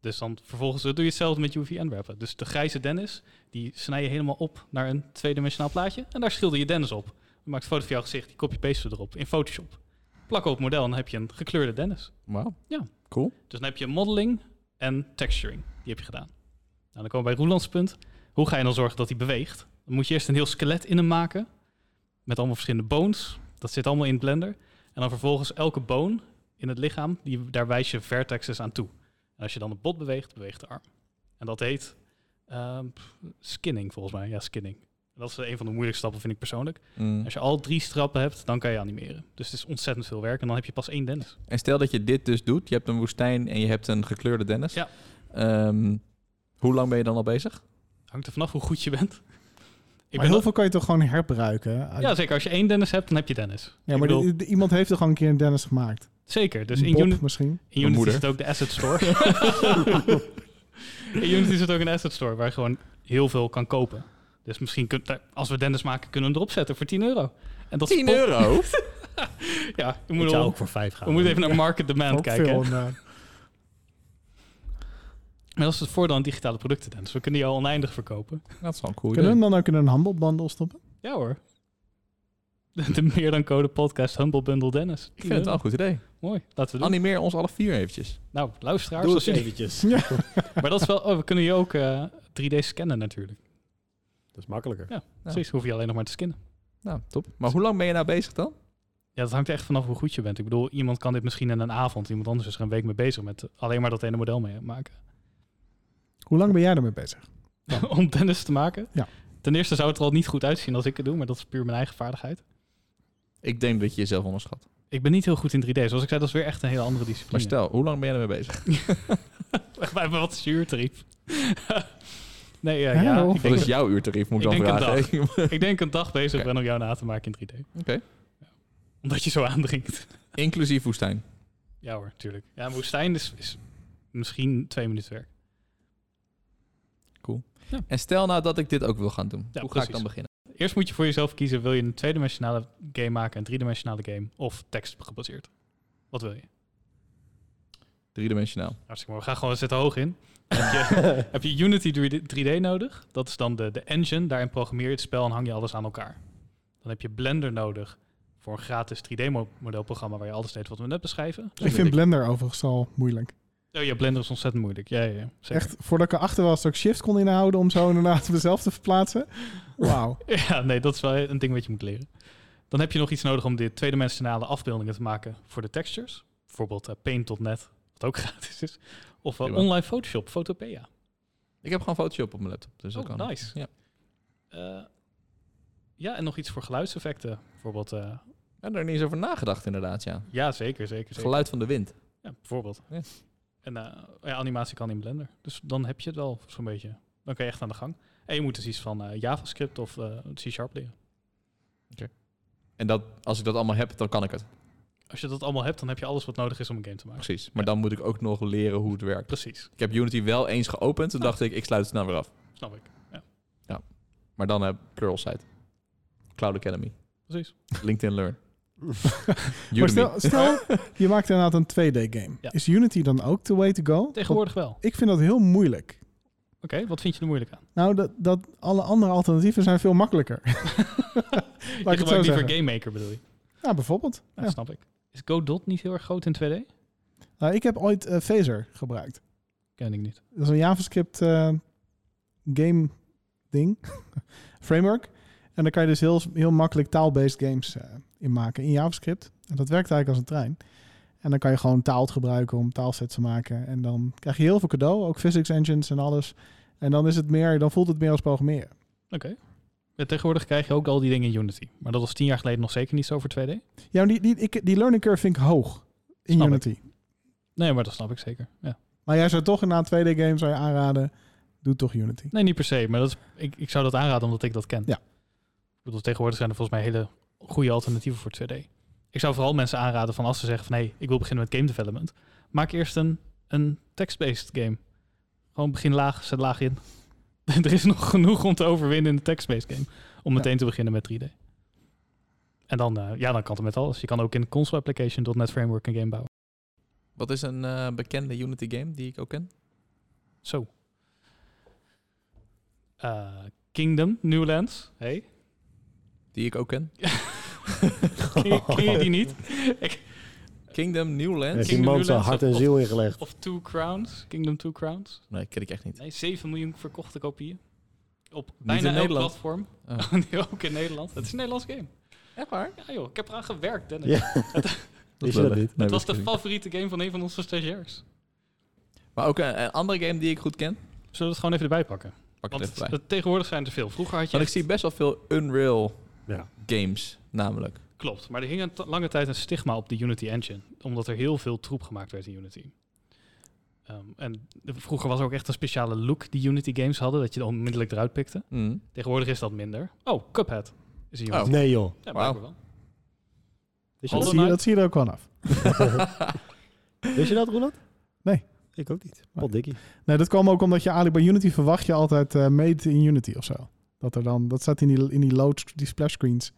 Speaker 3: Dus dan vervolgens doe je hetzelfde met UV Unwrappen. Dus de grijze Dennis, die snij je helemaal op naar een tweedimensionaal plaatje. En daar schilder je Dennis op. Je maakt een foto van jouw gezicht, die copy-paste erop in Photoshop. Plak op het model en dan heb je een gekleurde Dennis.
Speaker 2: Wauw.
Speaker 3: Ja.
Speaker 2: Cool.
Speaker 3: Dus dan heb je modeling en texturing. Die heb je gedaan. Nou, dan komen we bij Roelands punt. Hoe ga je dan zorgen dat hij beweegt? Dan moet je eerst een heel skelet in hem maken. Met allemaal verschillende bones. Dat zit allemaal in Blender. En dan vervolgens elke bone in het lichaam, die, daar wijs je vertexes aan toe. En als je dan het bot beweegt, beweegt de arm. En dat heet ehm, pff, skinning volgens mij. Ja, skinning. Dat is een van de moeilijkste stappen, vind ik persoonlijk.
Speaker 2: Mm.
Speaker 3: Als je al drie strappen hebt, dan kan je animeren. Dus het is ontzettend veel werk en dan heb je pas één Dennis.
Speaker 2: En stel dat je dit dus doet. Je hebt een woestijn en je hebt een gekleurde Dennis.
Speaker 3: Ja.
Speaker 2: Ehm, hoe lang ben je dan al bezig?
Speaker 3: Hangt er vanaf hoe goed je bent. Ik
Speaker 5: maar
Speaker 3: ben
Speaker 5: heel
Speaker 3: al-
Speaker 5: veel kan je toch gewoon herbruiken? Ah,
Speaker 3: Ja, zeker. Als je één Dennis hebt, dan heb je Dennis.
Speaker 5: ja, maar
Speaker 3: ik bedoel-
Speaker 5: die- die- iemand heeft toch gewoon een keer een Dennis gemaakt?
Speaker 3: Zeker. Dus in,
Speaker 5: Bob
Speaker 3: Uni-
Speaker 5: misschien?
Speaker 3: in Unity
Speaker 2: moeder.
Speaker 3: zit ook de asset store. in Unity zit ook een asset store waar je gewoon heel veel kan kopen. Dus misschien kun- daar- als we Dennis maken, kunnen we hem erop zetten voor 10 euro. En dat is pop-
Speaker 2: euro?
Speaker 3: Ja, we
Speaker 4: Ik
Speaker 3: moeten,
Speaker 4: zou
Speaker 3: wel-
Speaker 4: ook voor vijf gaan.
Speaker 3: we moeten even naar market demand
Speaker 5: Ook
Speaker 3: kijken.
Speaker 5: veel, eh,
Speaker 3: Maar dat is het voordeel aan digitale producten, Dennis. We kunnen die al oneindig verkopen.
Speaker 2: Dat is wel een cool
Speaker 5: kunnen we
Speaker 2: idee.
Speaker 5: hem dan ook in een handelbandel stoppen?
Speaker 3: Ja hoor. De meer dan code podcast Humble Bundle Dennis.
Speaker 2: Ik vind het wel een goed idee.
Speaker 3: Mooi. Laten we doen.
Speaker 2: Animeer ons alle vier eventjes.
Speaker 3: Nou, luisteraars.
Speaker 4: Doe
Speaker 3: als
Speaker 4: eens
Speaker 3: jullie-
Speaker 4: eventjes.
Speaker 3: Maar dat is wel, oh, we kunnen je ook eh, 3D scannen natuurlijk.
Speaker 4: Dat is makkelijker.
Speaker 3: Precies, hoef je alleen nog maar te scannen.
Speaker 2: Nou, top. Maar hoe lang ben je nou bezig dan?
Speaker 3: Ja, dat hangt echt vanaf hoe goed je bent. Ik bedoel, iemand kan dit misschien in een avond, iemand anders is er een week mee bezig met alleen maar dat ene model mee maken.
Speaker 5: Hoe lang ben jij ermee bezig?
Speaker 3: Om tennis te maken.
Speaker 5: Ja.
Speaker 3: Ten eerste zou het er al niet goed uitzien als ik het doe, maar dat is puur mijn eigen vaardigheid.
Speaker 2: Ik denk dat je jezelf onderschat.
Speaker 3: Ik ben niet heel goed in 3D. Zoals ik zei, dat is weer echt een hele andere discipline.
Speaker 2: Maar stel, hoe lang ben je ermee bezig?
Speaker 3: Wij hebben wat zuurtarief. nee, eh,
Speaker 5: Ja,
Speaker 3: ja,
Speaker 5: joh.
Speaker 3: ik
Speaker 2: Wat
Speaker 3: denk,
Speaker 2: is jouw uurtarief, moet ik,
Speaker 3: ik
Speaker 2: dan
Speaker 3: denk een
Speaker 2: vragen. Oké.
Speaker 3: ik denk een dag bezig
Speaker 2: Oké.
Speaker 3: ben om jou na te maken in 3D. Omdat je zo aandringt.
Speaker 2: Inclusief woestijn.
Speaker 3: Ja hoor, tuurlijk. Ja, woestijn is, is misschien twee minuten werk.
Speaker 2: En stel nou dat ik dit ook wil gaan doen. hoe
Speaker 3: Ja,
Speaker 2: ga
Speaker 3: precies.
Speaker 2: ik dan beginnen?
Speaker 3: Eerst moet je voor jezelf kiezen: wil je een tweedimensionale game maken, een driedimensionale game of tekst gebaseerd? Wat wil je?
Speaker 2: Driedimensionaal.
Speaker 3: Hartstikke mooi. We gaan gewoon zitten hoog in. heb, je, heb je Unity 3D, 3D nodig? Dat is dan de, de engine. Daarin programmeer je het spel en hang je alles aan elkaar. Dan heb je Blender nodig voor een gratis 3D-modelprogramma waar je alles deed wat we net beschrijven. Dus
Speaker 5: Ik vind Blender overigens al moeilijk.
Speaker 3: Oh ja, Blender is ontzettend moeilijk. Ja, ja, ja. Zeker.
Speaker 5: Echt, voordat ik erachter was dat ik shift kon inhouden om zo inderdaad mezelf te verplaatsen. Wauw.
Speaker 3: Ja, nee, dat is wel een ding wat je moet leren. Dan heb je nog iets nodig om de tweedimensionale afbeeldingen te maken voor de textures. Bijvoorbeeld eh, Paint.net, wat ook gratis is. Of eh,
Speaker 2: Prima.
Speaker 3: online Photoshop, Photopea.
Speaker 2: Ik heb gewoon Photoshop op mijn laptop. Dus
Speaker 3: Oh,
Speaker 2: dat kan.
Speaker 3: nice.
Speaker 2: Ja.
Speaker 3: Eh, ja, en nog iets voor geluidseffecten. Bijvoorbeeld, eh,
Speaker 2: Ik heb er niet eens over nagedacht inderdaad, ja.
Speaker 3: ja, zeker, zeker.
Speaker 2: Het
Speaker 3: zeker.
Speaker 2: geluid van de wind.
Speaker 3: Ja, bijvoorbeeld.
Speaker 2: Ja.
Speaker 3: En eh, ja, animatie kan in Blender. Dus dan heb je het wel zo'n beetje. Dan kan je echt aan de gang. En je moet dus iets van eh, JavaScript of eh, C-Sharp leren.
Speaker 2: En dat, als ik dat allemaal heb, dan kan ik het.
Speaker 3: Als je dat allemaal hebt, dan heb je alles wat nodig is om een game te maken.
Speaker 2: Precies. Maar dan moet ik ook nog leren hoe het werkt.
Speaker 3: Precies,
Speaker 2: Ik heb Unity wel eens geopend. Toen dacht ik, ik sluit het snel weer af.
Speaker 3: snap ik. Ja,
Speaker 2: Maar dan heb Pluralsight. Cloud Academy.
Speaker 3: precies.
Speaker 2: LinkedIn Learn.
Speaker 5: Maar
Speaker 2: Udemy.
Speaker 5: stel, stel, je maakt inderdaad een 2D game.
Speaker 3: Ja.
Speaker 5: Is Unity dan ook the way to go?
Speaker 3: Tegenwoordig wel. Oké,
Speaker 5: Want Ik vind dat heel moeilijk.
Speaker 3: wat vind je er moeilijk aan?
Speaker 5: Nou, dat, dat alle andere alternatieven zijn veel makkelijker.
Speaker 3: Je
Speaker 5: Laat ik het zo
Speaker 3: gebruikt liever
Speaker 5: zeggen.
Speaker 3: Game Maker bedoel je?
Speaker 5: Ja, Nou, bijvoorbeeld.
Speaker 3: Ja,
Speaker 5: Ja.
Speaker 3: snap ik. Is GoDot niet heel erg groot in 2D?
Speaker 5: Nou, ik heb ooit eh Phaser gebruikt.
Speaker 3: Ken ik niet.
Speaker 5: Dat is een JavaScript eh, game ding. Framework. En daar kan je dus heel, heel makkelijk taal-based games eh, in maken in JavaScript. En dat werkt eigenlijk als een trein. En dan kan je gewoon taalt gebruiken om taalsets te maken. En dan krijg je heel veel cadeau, ook physics engines en alles. En dan is het meer, dan voelt het meer als programmeren.
Speaker 3: Ja, tegenwoordig krijg je ook al die dingen in Unity. Maar dat was tien jaar geleden nog zeker niet zo voor 2D.
Speaker 5: Ja, maar die, die, ik, die learning curve vind ik hoog in
Speaker 3: Snap ik.
Speaker 5: Unity.
Speaker 3: Nee, maar dat snap ik zeker. Ja.
Speaker 5: Maar jij zou toch na 2D-game zou je aanraden, doe toch Unity.
Speaker 3: Nee, niet per se. Maar dat is, ik, ik zou dat aanraden omdat ik dat ken.
Speaker 5: Ja.
Speaker 3: Ik bedoel, tegenwoordig zijn er volgens mij hele goede alternatieven voor 2D. Ik zou vooral mensen aanraden van als ze zeggen van... hé, ik wil beginnen met game development. Maak eerst een, een text-based game. Gewoon begin laag, zet laag in. er is nog genoeg om te overwinnen in de text-based game. Om
Speaker 5: Ja.
Speaker 3: meteen te beginnen met 3D. En dan, eh, ja, dan kan het met alles. Je kan ook in console application .NET Framework een game bouwen.
Speaker 2: Wat is een eh, bekende Unity game die ik ook ken?
Speaker 3: Zo. Eh, Kingdom, Newlands. Hey.
Speaker 2: Die ik ook ken?
Speaker 3: Ken je, ken je die niet? Ik-
Speaker 2: Kingdom Newlands?
Speaker 4: Heeft
Speaker 3: King
Speaker 4: iemand zijn
Speaker 3: Newlands
Speaker 4: hart
Speaker 3: of-
Speaker 4: en ziel ingelegd.
Speaker 3: Of Two Crowns? Kingdom Two Crowns?
Speaker 2: Nee, ken ik echt niet.
Speaker 3: Nee, 7 miljoen verkochte kopieën. Op bijna
Speaker 2: in
Speaker 3: elk
Speaker 2: Nederland.
Speaker 3: platform.
Speaker 2: Oh.
Speaker 3: Nee, ook in Nederland. Het is een Nederlands game.
Speaker 2: Echt waar?
Speaker 3: Ja joh, ik heb eraan gewerkt, Dennis.
Speaker 4: Ja. Wist je dat niet?
Speaker 3: Het was de favoriete game van een van onze stagiairs.
Speaker 2: Maar ook een, een andere game die ik goed ken?
Speaker 3: Zullen we het gewoon even erbij pakken?
Speaker 2: Pak het
Speaker 3: Want
Speaker 2: even bij.
Speaker 3: het- tegenwoordig zijn er veel. Vroeger had je...
Speaker 2: Want ik
Speaker 3: echt-
Speaker 2: zie best wel veel Unreal
Speaker 4: Ja.
Speaker 2: games, namelijk.
Speaker 3: Klopt, maar er hing een t- lange tijd een stigma op de Unity Engine. Omdat er heel veel troep gemaakt werd in Unity. Ehm, en de- vroeger was er ook echt een speciale look die Unity games hadden. Dat je dan onmiddellijk eruit pikte.
Speaker 2: Mm.
Speaker 3: Tegenwoordig is dat minder. Oh, Cuphead is een Unity.
Speaker 4: Nee joh.
Speaker 3: Ja,
Speaker 2: Oh, Wauw.
Speaker 3: blijkbaar wel.
Speaker 4: Wist je
Speaker 5: Dat
Speaker 3: Hollow Knight?
Speaker 5: zie, je, dat zie je er ook wel af.
Speaker 4: dat, Wist je dat Roland?
Speaker 5: Nee.
Speaker 4: Ik ook niet. Potdikkie.
Speaker 5: Nee, dat kwam ook omdat je eigenlijk bij Unity verwacht je altijd eh made in Unity of zo. Dat er dan, dat staat in die, in die load, die splash screens.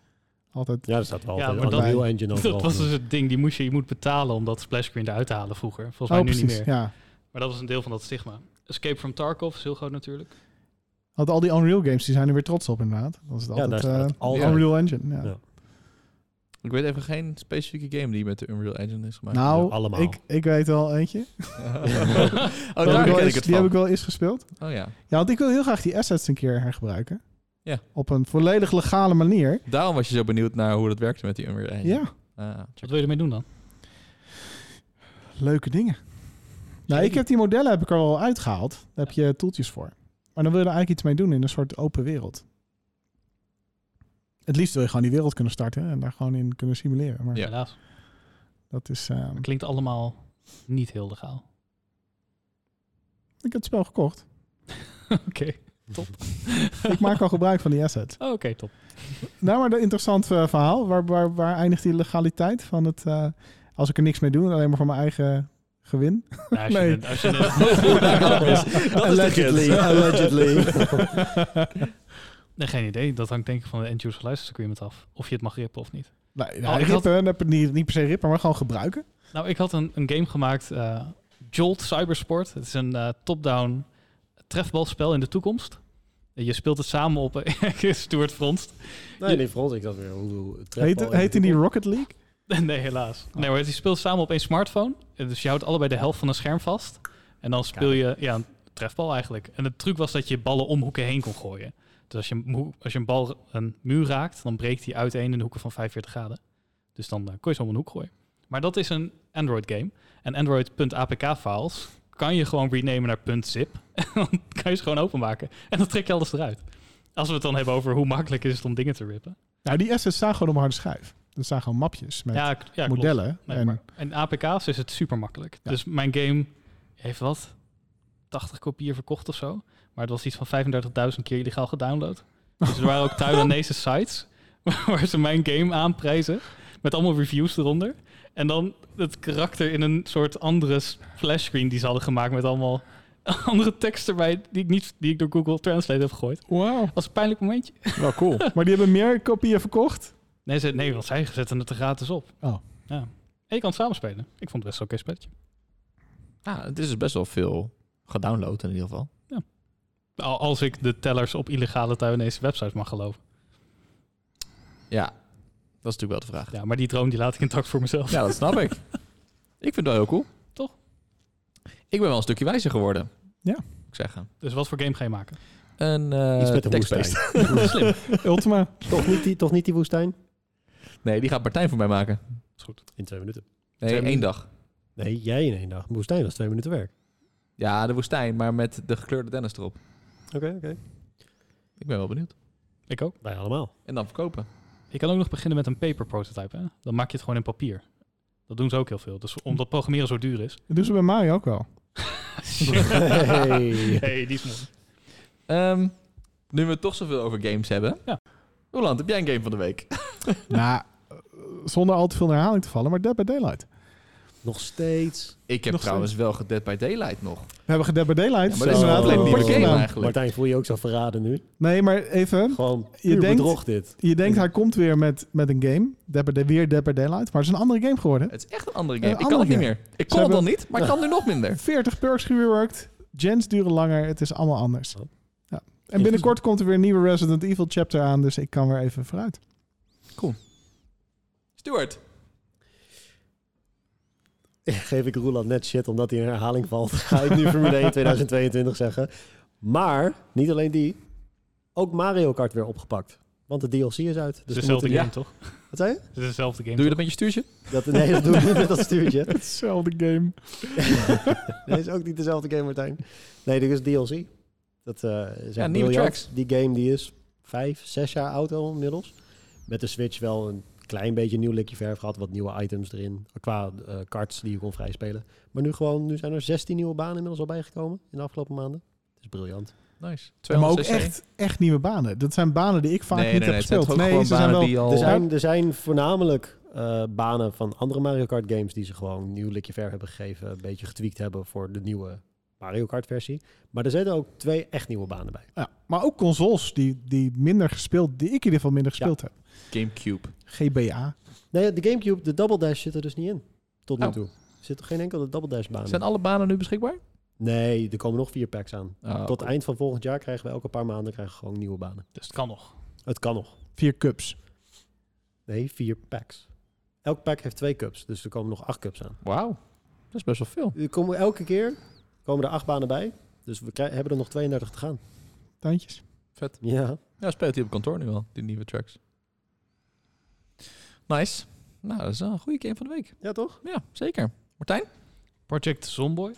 Speaker 5: Altijd.
Speaker 4: Ja, dat staat wel.
Speaker 3: Ja,
Speaker 4: Ja,
Speaker 3: maar dat-
Speaker 4: Unreal Engine overal.
Speaker 3: Dat was dus
Speaker 4: genoemd.
Speaker 3: het ding. Die moest je, je moet betalen om dat splashscreen eruit te halen vroeger. Volgens mij nu niet meer.
Speaker 5: Oh, Ja.
Speaker 3: Maar dat was een deel van dat stigma. Escape from Tarkov is heel groot natuurlijk.
Speaker 5: Want al die Unreal games, die zijn er weer trots op inderdaad. Dat is het
Speaker 4: Ja,
Speaker 5: altijd,
Speaker 4: daar staat
Speaker 5: eh,
Speaker 4: het altijd.
Speaker 5: de Unreal Engine. Ja.
Speaker 4: Ja.
Speaker 2: Ik weet even geen specifieke game die met de Unreal Engine is gemaakt.
Speaker 5: Nou,
Speaker 4: Ja, allemaal.
Speaker 5: ik, ik weet wel eentje.
Speaker 2: oh,
Speaker 5: Die
Speaker 2: daar
Speaker 5: heb ik wel
Speaker 2: ken ik
Speaker 5: eens-
Speaker 2: het
Speaker 5: die heb ik
Speaker 2: van.
Speaker 5: wel eens gespeeld.
Speaker 2: Oh ja.
Speaker 5: Ja, want ik wil heel graag die assets een keer hergebruiken.
Speaker 2: Ja.
Speaker 5: Op een volledig legale manier.
Speaker 2: Daarom was je zo benieuwd naar hoe dat werkte met die Unreal Engine.
Speaker 5: Ja,
Speaker 2: Ah,
Speaker 3: Wat wil je ermee doen dan?
Speaker 5: leuke dingen. Nou, ik heb die modellen heb ik er al uitgehaald. Daar heb je toeltjes voor. Maar dan wil je er eigenlijk iets mee doen in een soort open wereld. Het liefst wil je gewoon die wereld kunnen starten en daar gewoon in kunnen simuleren. Maar
Speaker 2: Ja.
Speaker 3: Helaas.
Speaker 5: dat is. ehm,
Speaker 3: Dat klinkt allemaal niet heel legaal.
Speaker 5: ik heb het spel gekocht.
Speaker 3: Oké, top. Oh,
Speaker 5: Ik maak al gebruik van die assets.
Speaker 3: Oké, top.
Speaker 5: Nou, maar een interessant eh, verhaal. Waar, waar, waar eindigt die legaliteit van het. eh, als ik er niks mee doe, alleen maar voor mijn eigen gewin?
Speaker 3: Nou, als
Speaker 5: Nee.
Speaker 3: je, een- als je een-
Speaker 4: Allegedly. Allegedly.
Speaker 3: Nee, geen idee. Dat hangt denk ik van de end-user license agreement af. Of je het mag rippen of niet.
Speaker 5: Nee,
Speaker 3: Oh,
Speaker 5: nou,
Speaker 3: ik had-
Speaker 5: rippen, heb het niet, niet per se rippen, maar gewoon gebruiken.
Speaker 3: Nou, ik had een, een game gemaakt, eh, Jolt Cybersport. Het is een eh, top-down trefbalspel in de toekomst. Je speelt het samen op Stuart Fronst.
Speaker 4: Nee, nee, Frans, ik dacht weer. Hoe, hoe,
Speaker 5: Heet, heet in die Rocket League?
Speaker 3: Nee,
Speaker 5: Oh.
Speaker 3: helaas. Nee, maar je speelt samen op één smartphone. Eh, Dus je houdt allebei de helft van een scherm vast. En dan speel je ja, een trefbal eigenlijk. En de truc was dat je ballen om hoeken heen kon gooien. Dus als je, een hoek- als je een bal een muur raakt, dan breekt die uiteen in de hoeken van 45 graden. Dus dan eh, kon je ze om een hoek gooien. Maar dat is een Android-game. En Android.apk-files kan je gewoon renamen naar .zip. En dan kan je ze gewoon openmaken. En dan trek je alles eruit. Als we het dan hebben over hoe makkelijk is het om dingen te rippen.
Speaker 5: Nou, die assets staan gewoon op een harde schijf. Dat zijn gewoon mapjes met
Speaker 3: Ja, k- ja, klopt.
Speaker 5: modellen.
Speaker 3: Nee,
Speaker 5: en,
Speaker 3: maar in APK's is het super makkelijk.
Speaker 5: Ja.
Speaker 3: Dus mijn game heeft wat? 80 kopieën verkocht of zo. Maar het was iets van 35.000 keer illegaal gedownload. Dus er waren ook Taiwanese sites waar ze mijn game aanprijzen. Met allemaal reviews eronder. En dan het karakter in een soort andere s- flashscreen die ze hadden gemaakt met allemaal andere tekst erbij die ik, niet, die ik door Google Translate heb gegooid.
Speaker 5: Wauw.
Speaker 3: was een pijnlijk momentje.
Speaker 2: Wel cool.
Speaker 5: Maar die hebben meer kopieën verkocht.
Speaker 3: Nee, ze, nee want zij zetten het er gratis op.
Speaker 5: Oh.
Speaker 3: Ja. En je kan het samen spelen. Ik vond het best wel oké spelletje.
Speaker 2: Ah, het is dus best wel veel gedownload in ieder geval.
Speaker 3: Al- Als ik de tellers op illegale Taiwanese websites mag geloven.
Speaker 2: Ja, dat is natuurlijk wel de vraag.
Speaker 3: Ja, maar die droom die laat ik intact voor mezelf.
Speaker 2: Ja, dat snap ik. Ik vind het wel heel cool.
Speaker 3: Toch?
Speaker 2: Ik ben wel een stukje wijzer geworden.
Speaker 5: Ja.
Speaker 2: Moet ik zeggen.
Speaker 3: Dus wat voor game ga je maken?
Speaker 2: Een eh
Speaker 4: Iets met een
Speaker 2: text-based.
Speaker 4: woestijn.
Speaker 3: Slim.
Speaker 5: Ultima.
Speaker 4: toch, niet die, toch niet die woestijn?
Speaker 2: Nee, die gaat Martijn voor mij maken.
Speaker 3: Is goed.
Speaker 4: In twee minuten.
Speaker 2: Nee,
Speaker 4: Twee
Speaker 2: één dag.
Speaker 4: Nee, jij in één dag. Moestijn was twee minuten werk.
Speaker 2: Ja, de woestijn, maar met de gekleurde Dennis erop.
Speaker 4: Oké, oké.
Speaker 2: Ik ben wel benieuwd.
Speaker 3: Ik ook.
Speaker 4: Wij allemaal.
Speaker 2: En dan verkopen.
Speaker 3: Je kan ook nog beginnen met een paper prototype. Hè? Dan maak je het gewoon in papier. Dat doen ze ook heel veel. Dus omdat programmeren zo duur is.
Speaker 5: Dat doen ze bij Mario ook wel.
Speaker 4: Hey.
Speaker 3: hey, die is mooi.
Speaker 2: Ehm, nu we het toch zoveel over games hebben.
Speaker 3: Ja.
Speaker 2: Roland, heb jij een game van de week?
Speaker 5: nou, eh, zonder al te veel in herhaling te vallen, maar Dead by Daylight.
Speaker 4: Nog steeds.
Speaker 2: Ik heb
Speaker 5: Nog
Speaker 2: trouwens wel gedead by Daylight nog.
Speaker 5: We hebben Dead by Daylight.
Speaker 2: Ja,
Speaker 5: Ja,
Speaker 2: maar dat is een
Speaker 4: Zo.
Speaker 2: compleet nieuwe
Speaker 4: Wordt
Speaker 2: game
Speaker 4: gedaan.
Speaker 2: eigenlijk.
Speaker 4: Martijn, voel je je ook zo verraden nu?
Speaker 5: Nee, maar even.
Speaker 4: Gewoon
Speaker 5: Je
Speaker 4: je
Speaker 5: denkt-
Speaker 4: bedrog dit.
Speaker 5: Je denkt, hij komt weer met, met een game. Dead by Day- weer Dead by Daylight. Maar het is een andere game geworden.
Speaker 2: Het is echt een andere game.
Speaker 5: Een
Speaker 2: ik kan het
Speaker 5: andere
Speaker 2: niet meer. Ik kon
Speaker 5: Ze
Speaker 2: het al
Speaker 5: hebben-
Speaker 2: niet, maar ik kan nu nog minder.
Speaker 5: 40 perks gereworked. Gens duren langer. Het is allemaal anders.
Speaker 4: Oh.
Speaker 5: Ja. En binnenkort komt er weer een nieuwe Resident Evil chapter aan. Dus ik kan weer even vooruit.
Speaker 2: Stuart,
Speaker 4: Geef ik Roeland net shit omdat hij in herhaling valt. Ga ik nu Formule 1 2022 zeggen. Maar, niet alleen die. Ook Mario Kart weer opgepakt. Want de DLC is uit.
Speaker 3: Het is
Speaker 4: Dus we
Speaker 3: dezelfde
Speaker 2: moeten-
Speaker 3: game, toch?
Speaker 4: moeten- Wat zei je?
Speaker 3: Het is dezelfde game.
Speaker 2: doe je dat met je stuurtje?
Speaker 4: Dat, nee, dat doe ik niet met dat stuurtje.
Speaker 5: Hetzelfde game.
Speaker 4: Dat is ook niet dezelfde game, Martijn. Nee, dit is DLC. Dat eh is echt
Speaker 2: nieuwe
Speaker 4: briljant.
Speaker 2: tracks.
Speaker 4: Die game die is vijf, zes jaar oud al inmiddels. Met de Switch wel een klein beetje een nieuw likje verf gehad. Wat nieuwe items erin. Qua eh, karts die je kon vrijspelen. Maar nu gewoon, nu zijn er 16 nieuwe banen inmiddels al bijgekomen. In de afgelopen maanden. Het is briljant.
Speaker 2: Nice.
Speaker 5: Ja, maar ook
Speaker 2: 200 cc.
Speaker 5: echt, echt nieuwe banen. Dat zijn banen die ik vaak
Speaker 2: Nee, nee,
Speaker 5: niet
Speaker 2: nee.
Speaker 5: heb
Speaker 2: Het zijn
Speaker 5: gespeeld.
Speaker 2: toch ook gewoon
Speaker 5: ze
Speaker 2: banen
Speaker 5: zijn wel...
Speaker 2: die al...
Speaker 4: Er zijn, er zijn voornamelijk eh, banen van andere Mario Kart games die ze gewoon een nieuw likje verf hebben gegeven. Een beetje getweakt hebben voor de nieuwe Mario Kart versie. Maar er zitten ook twee echt nieuwe banen bij.
Speaker 5: Ja, maar ook consoles die, die minder gespeeld, die ik in ieder geval minder gespeeld heb.
Speaker 2: Gamecube.
Speaker 5: GBA.
Speaker 4: Nee, de Gamecube, de Double Dash zit er dus niet in. Tot nu
Speaker 2: Oh.
Speaker 4: toe. Er zit toch geen enkele Double Dash baan
Speaker 2: Zijn
Speaker 4: in?
Speaker 2: alle banen nu beschikbaar?
Speaker 4: Nee, er komen nog vier packs aan.
Speaker 2: Ah,
Speaker 4: Tot eind van volgend jaar krijgen we elke paar maanden krijgen we gewoon nieuwe banen.
Speaker 3: Dus het kan nog.
Speaker 4: Het kan nog.
Speaker 5: Vier cups.
Speaker 4: Nee, vier packs. Elk pack heeft twee cups, dus er komen nog acht cups aan.
Speaker 2: Wauw. Dat is best wel veel.
Speaker 4: Er komen elke keer komen er acht banen bij, dus we krij- hebben er nog 32 te gaan.
Speaker 5: Tandjes.
Speaker 2: Vet.
Speaker 4: Ja.
Speaker 2: Ja, speelt hij op kantoor nu al, die nieuwe tracks. Nice. Nou, dat is wel een goede game van de week.
Speaker 4: Ja, toch?
Speaker 2: Ja, zeker. Martijn?
Speaker 3: Project Zomboy. Eh,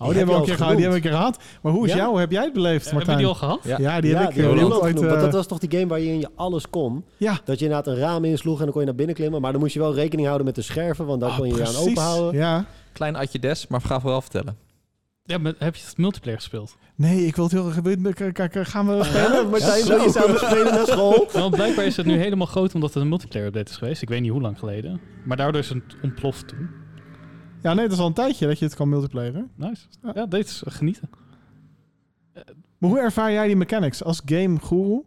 Speaker 5: Oh, die hebben, we
Speaker 4: al
Speaker 5: een keer
Speaker 4: eens
Speaker 5: gehad, die hebben
Speaker 4: genoemd.
Speaker 5: we een keer gehad. Maar hoe is
Speaker 4: Ja.
Speaker 5: jouw? Heb jij het beleefd,
Speaker 3: Eh, Hebben
Speaker 5: Martijn?
Speaker 3: we die al gehad?
Speaker 2: Ja.
Speaker 5: Ja, die
Speaker 4: ja,
Speaker 5: heb ik
Speaker 4: die
Speaker 5: eh,
Speaker 4: hebben we
Speaker 5: ooit,
Speaker 4: genoemd,
Speaker 5: eh,
Speaker 4: want dat was toch die game waarin je alles kon?
Speaker 5: Ja.
Speaker 4: Dat je inderdaad een raam insloeg en dan kon je naar binnen klimmen. Maar dan moest je wel rekening houden met de scherven, want daar
Speaker 5: Ah,
Speaker 4: kon je je aan
Speaker 5: precies.
Speaker 4: openhouden.
Speaker 5: Ja.
Speaker 2: Klein atje des, maar ga vooral vertellen.
Speaker 3: Ja, maar heb je het multiplayer gespeeld?
Speaker 5: Nee, ik wil het heel graag... wil je- k- k- k- Gaan we spelen?
Speaker 4: Martijn, wil je samen spelen naar school?
Speaker 3: Want Nou, blijkbaar is het nu helemaal groot omdat het een multiplayer update is geweest. Ik weet niet hoe lang geleden. Maar daardoor is het ontploft toen.
Speaker 5: Ja, nee, dat is al een tijdje dat je het kan multiplayeren.
Speaker 3: Nice. Ja, dit is genieten.
Speaker 5: Maar hoe ervaar jij die mechanics als game guru?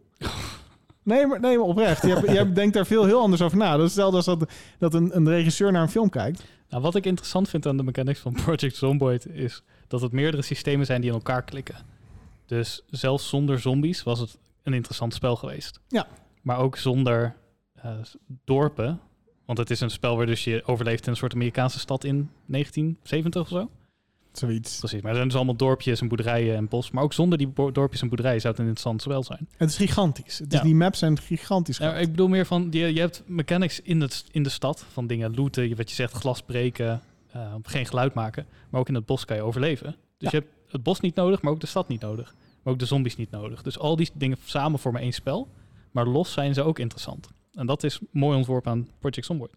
Speaker 5: Nee, maar, nee, maar oprecht. Je, hebt, je denkt daar veel heel anders over na. Dat is hetzelfde als dat, dat een, een regisseur naar een film kijkt.
Speaker 3: Nou, wat ik interessant vind aan de mechanics van Project Zomboid is dat het meerdere systemen zijn die in elkaar klikken. Dus zelfs zonder zombies was het een interessant spel geweest.
Speaker 5: Ja.
Speaker 3: Maar ook zonder eh, s- dorpen. Want het is een spel waar dus je overleeft in een soort Amerikaanse stad in 1970 of zo.
Speaker 5: Zoiets.
Speaker 3: Precies, maar er zijn dus allemaal dorpjes en boerderijen en bos. Maar ook zonder die bo- dorpjes en boerderijen zou het een interessant spel zijn.
Speaker 5: Het is gigantisch. Het is,
Speaker 3: Ja.
Speaker 5: Die maps zijn gigantisch.
Speaker 3: Nou, ik bedoel meer van, je, je hebt mechanics in, het, in de stad van dingen looten, je- wat je zegt, glas breken, eh, geen geluid maken. Maar ook in het bos kan je overleven. Dus je hebt het bos niet nodig, maar ook de stad niet nodig. Maar ook de zombies niet nodig. Dus al die dingen samen vormen één spel. Maar los zijn ze ook interessant. En dat is mooi ontworpen aan Project Zomboid.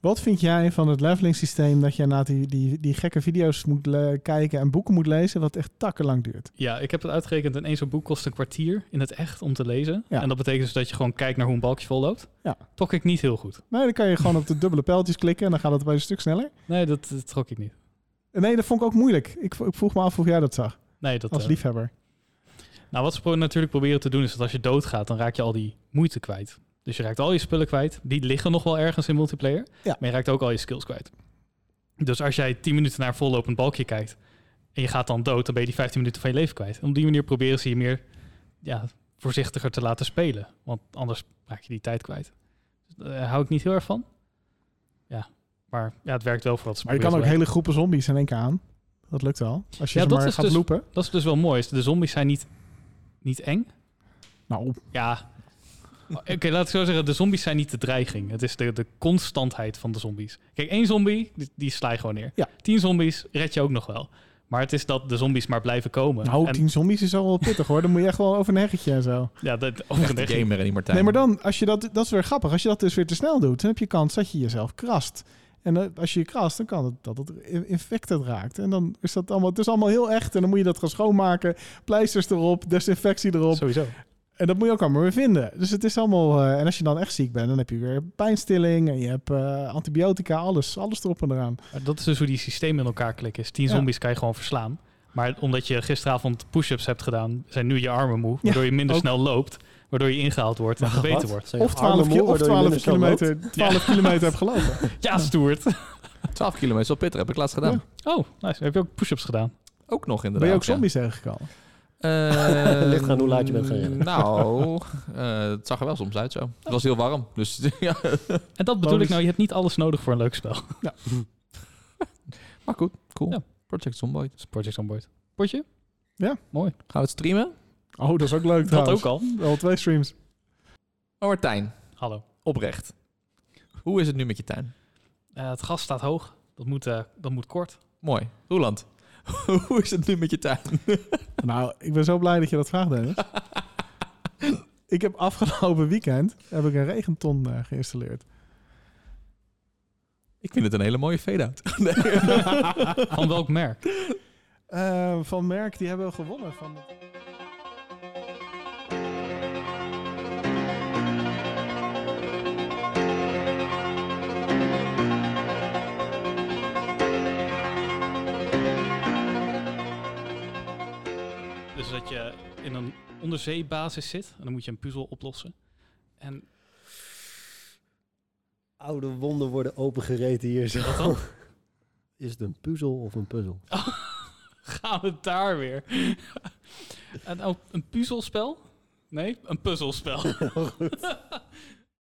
Speaker 5: Wat vind jij van het leveling systeem dat je na die, die, die gekke video's moet le- kijken en boeken moet lezen, wat echt takkenlang duurt?
Speaker 3: Ja, ik heb het uitgerekend. En één zo'n boek kost een kwartier in het echt om te lezen.
Speaker 5: Ja.
Speaker 3: En dat betekent dus dat je gewoon kijkt naar hoe een balkje vol loopt.
Speaker 5: Ja.
Speaker 3: Tok ik niet heel goed.
Speaker 5: Nee, dan kan je gewoon op de dubbele pijltjes klikken en dan gaat het bij een stuk sneller.
Speaker 3: Nee, dat, dat trok ik niet.
Speaker 5: Nee, dat vond ik ook moeilijk. Ik, v- ik vroeg me af hoe jij dat zag,
Speaker 3: Nee, dat,
Speaker 5: als
Speaker 3: eh,
Speaker 5: liefhebber.
Speaker 3: Nou, wat ze pro- natuurlijk proberen te doen is dat als je doodgaat, dan raak je al die moeite kwijt. Dus je raakt al je spullen kwijt. Die liggen nog wel ergens in multiplayer.
Speaker 5: Ja.
Speaker 3: Maar je raakt ook al je skills kwijt. Dus als jij 10 minuten naar een vollopend balkje kijkt en je gaat dan dood, dan ben je die 15 minuten van je leven kwijt. En op die manier proberen ze je meer ja, voorzichtiger te laten spelen. Want anders raak je die tijd kwijt. Dus daar hou ik niet heel erg van. Ja, maar ja, het werkt wel voor wat ze
Speaker 5: Maar je kan ook
Speaker 3: proberen te
Speaker 5: hele groepen zombies in één keer aan. Dat lukt wel. Als je
Speaker 3: Ja,
Speaker 5: ze
Speaker 3: dat
Speaker 5: maar
Speaker 3: is
Speaker 5: gaat
Speaker 3: dus-
Speaker 5: loopen.
Speaker 3: bereiken. Dat is dus wel mooi. is De zombies zijn niet, niet eng.
Speaker 5: Nou,
Speaker 3: Ja, Oké, laat ik zo zeggen, de zombies zijn niet de dreiging. Het is de, de constantheid van de zombies. Kijk, één zombie, die, die sla je gewoon neer.
Speaker 5: Ja.
Speaker 3: Tien zombies red je ook nog wel. Maar het is dat de zombies maar blijven komen.
Speaker 5: Nou,
Speaker 3: En-
Speaker 5: tien zombies is al wel pittig hoor. Dan moet je echt wel over een heggetje en zo.
Speaker 3: Ja, dat,
Speaker 2: Echt een gamer en die Martijn.
Speaker 5: Nee, maar dan, als je dat, dat is weer grappig. Als je dat dus weer te snel doet, dan heb je kans dat je jezelf krast. En eh, als je je krast, dan kan het dat het in- infected raakt. En dan is dat allemaal, het is allemaal heel echt. En dan moet je dat gaan schoonmaken. Pleisters erop, desinfectie erop.
Speaker 3: Sowieso.
Speaker 5: En dat moet je ook allemaal weer vinden. Dus het is allemaal. eh, en als je dan echt ziek bent, dan heb je weer pijnstilling. En je hebt eh, antibiotica, alles. Alles erop en eraan.
Speaker 3: Maar dat is dus hoe die systemen in elkaar klikken. Is tien
Speaker 5: Ja.
Speaker 3: zombies kan je gewoon verslaan. Maar omdat je gisteravond push-ups hebt gedaan, zijn nu je armen moe. Waardoor je minder
Speaker 5: ook.
Speaker 3: snel loopt. Waardoor je ingehaald wordt en gebeten
Speaker 4: Wat?
Speaker 3: wordt.
Speaker 4: Zijn je
Speaker 5: Of
Speaker 4: armen
Speaker 5: 12,
Speaker 4: moe,
Speaker 5: ki- of
Speaker 4: waardoor je
Speaker 5: 12
Speaker 4: minder snel loopt?
Speaker 5: kilometer, 12 kilometer hebt gelopen.
Speaker 3: Ja, stoert.
Speaker 2: 12 kilometer is wel pittig, heb ik laatst gedaan.
Speaker 5: Ja.
Speaker 3: Oh, nice. Heb je ook push-ups gedaan?
Speaker 2: Ook nog inderdaad.
Speaker 5: Ben je ook
Speaker 2: ja.
Speaker 5: zombies tegengekomen?
Speaker 2: Eh,
Speaker 4: Ligt eraan hoe laat je bent gaan rennen.
Speaker 2: Nou, eh, het zag er wel soms uit zo. Het was heel warm, dus ja.
Speaker 3: En dat bedoel
Speaker 5: Bonus.
Speaker 3: ik nou, je hebt niet alles nodig voor een leuk spel.
Speaker 2: Maar goed, cool.
Speaker 3: Ja.
Speaker 2: Project Zomboid.
Speaker 3: Dus Project on Board. Potje?
Speaker 2: Gaan we het streamen?
Speaker 5: Oh, dat is ook leuk.
Speaker 3: Dat
Speaker 5: trouwens.
Speaker 3: ook al.
Speaker 5: Wel twee streams.
Speaker 2: Maar Martijn,
Speaker 3: Hallo.
Speaker 2: oprecht. Hoe is het nu met je tuin?
Speaker 3: Eh, het gas staat hoog. Dat moet, eh, dat moet kort.
Speaker 2: Mooi. Roeland, hoe is het nu met je tuin?
Speaker 5: Nou, ik ben zo blij dat je dat vraagt, Dennis. ik heb afgelopen weekend heb ik een regenton eh, geïnstalleerd.
Speaker 2: Ik vind het een hele mooie fade-out.
Speaker 3: Van welk merk?
Speaker 5: Eh, van Merk, die hebben we gewonnen. Van...
Speaker 3: Dus dat je in een onderzeebasis zit en dan moet je een puzzel oplossen. En
Speaker 4: Oude wonden worden opengereten hier zo.
Speaker 3: wat dan?
Speaker 4: Is het een puzzel of een puzzel?
Speaker 3: Gaan we daar weer? en ook een puzzelspel? Nee, een puzzelspel.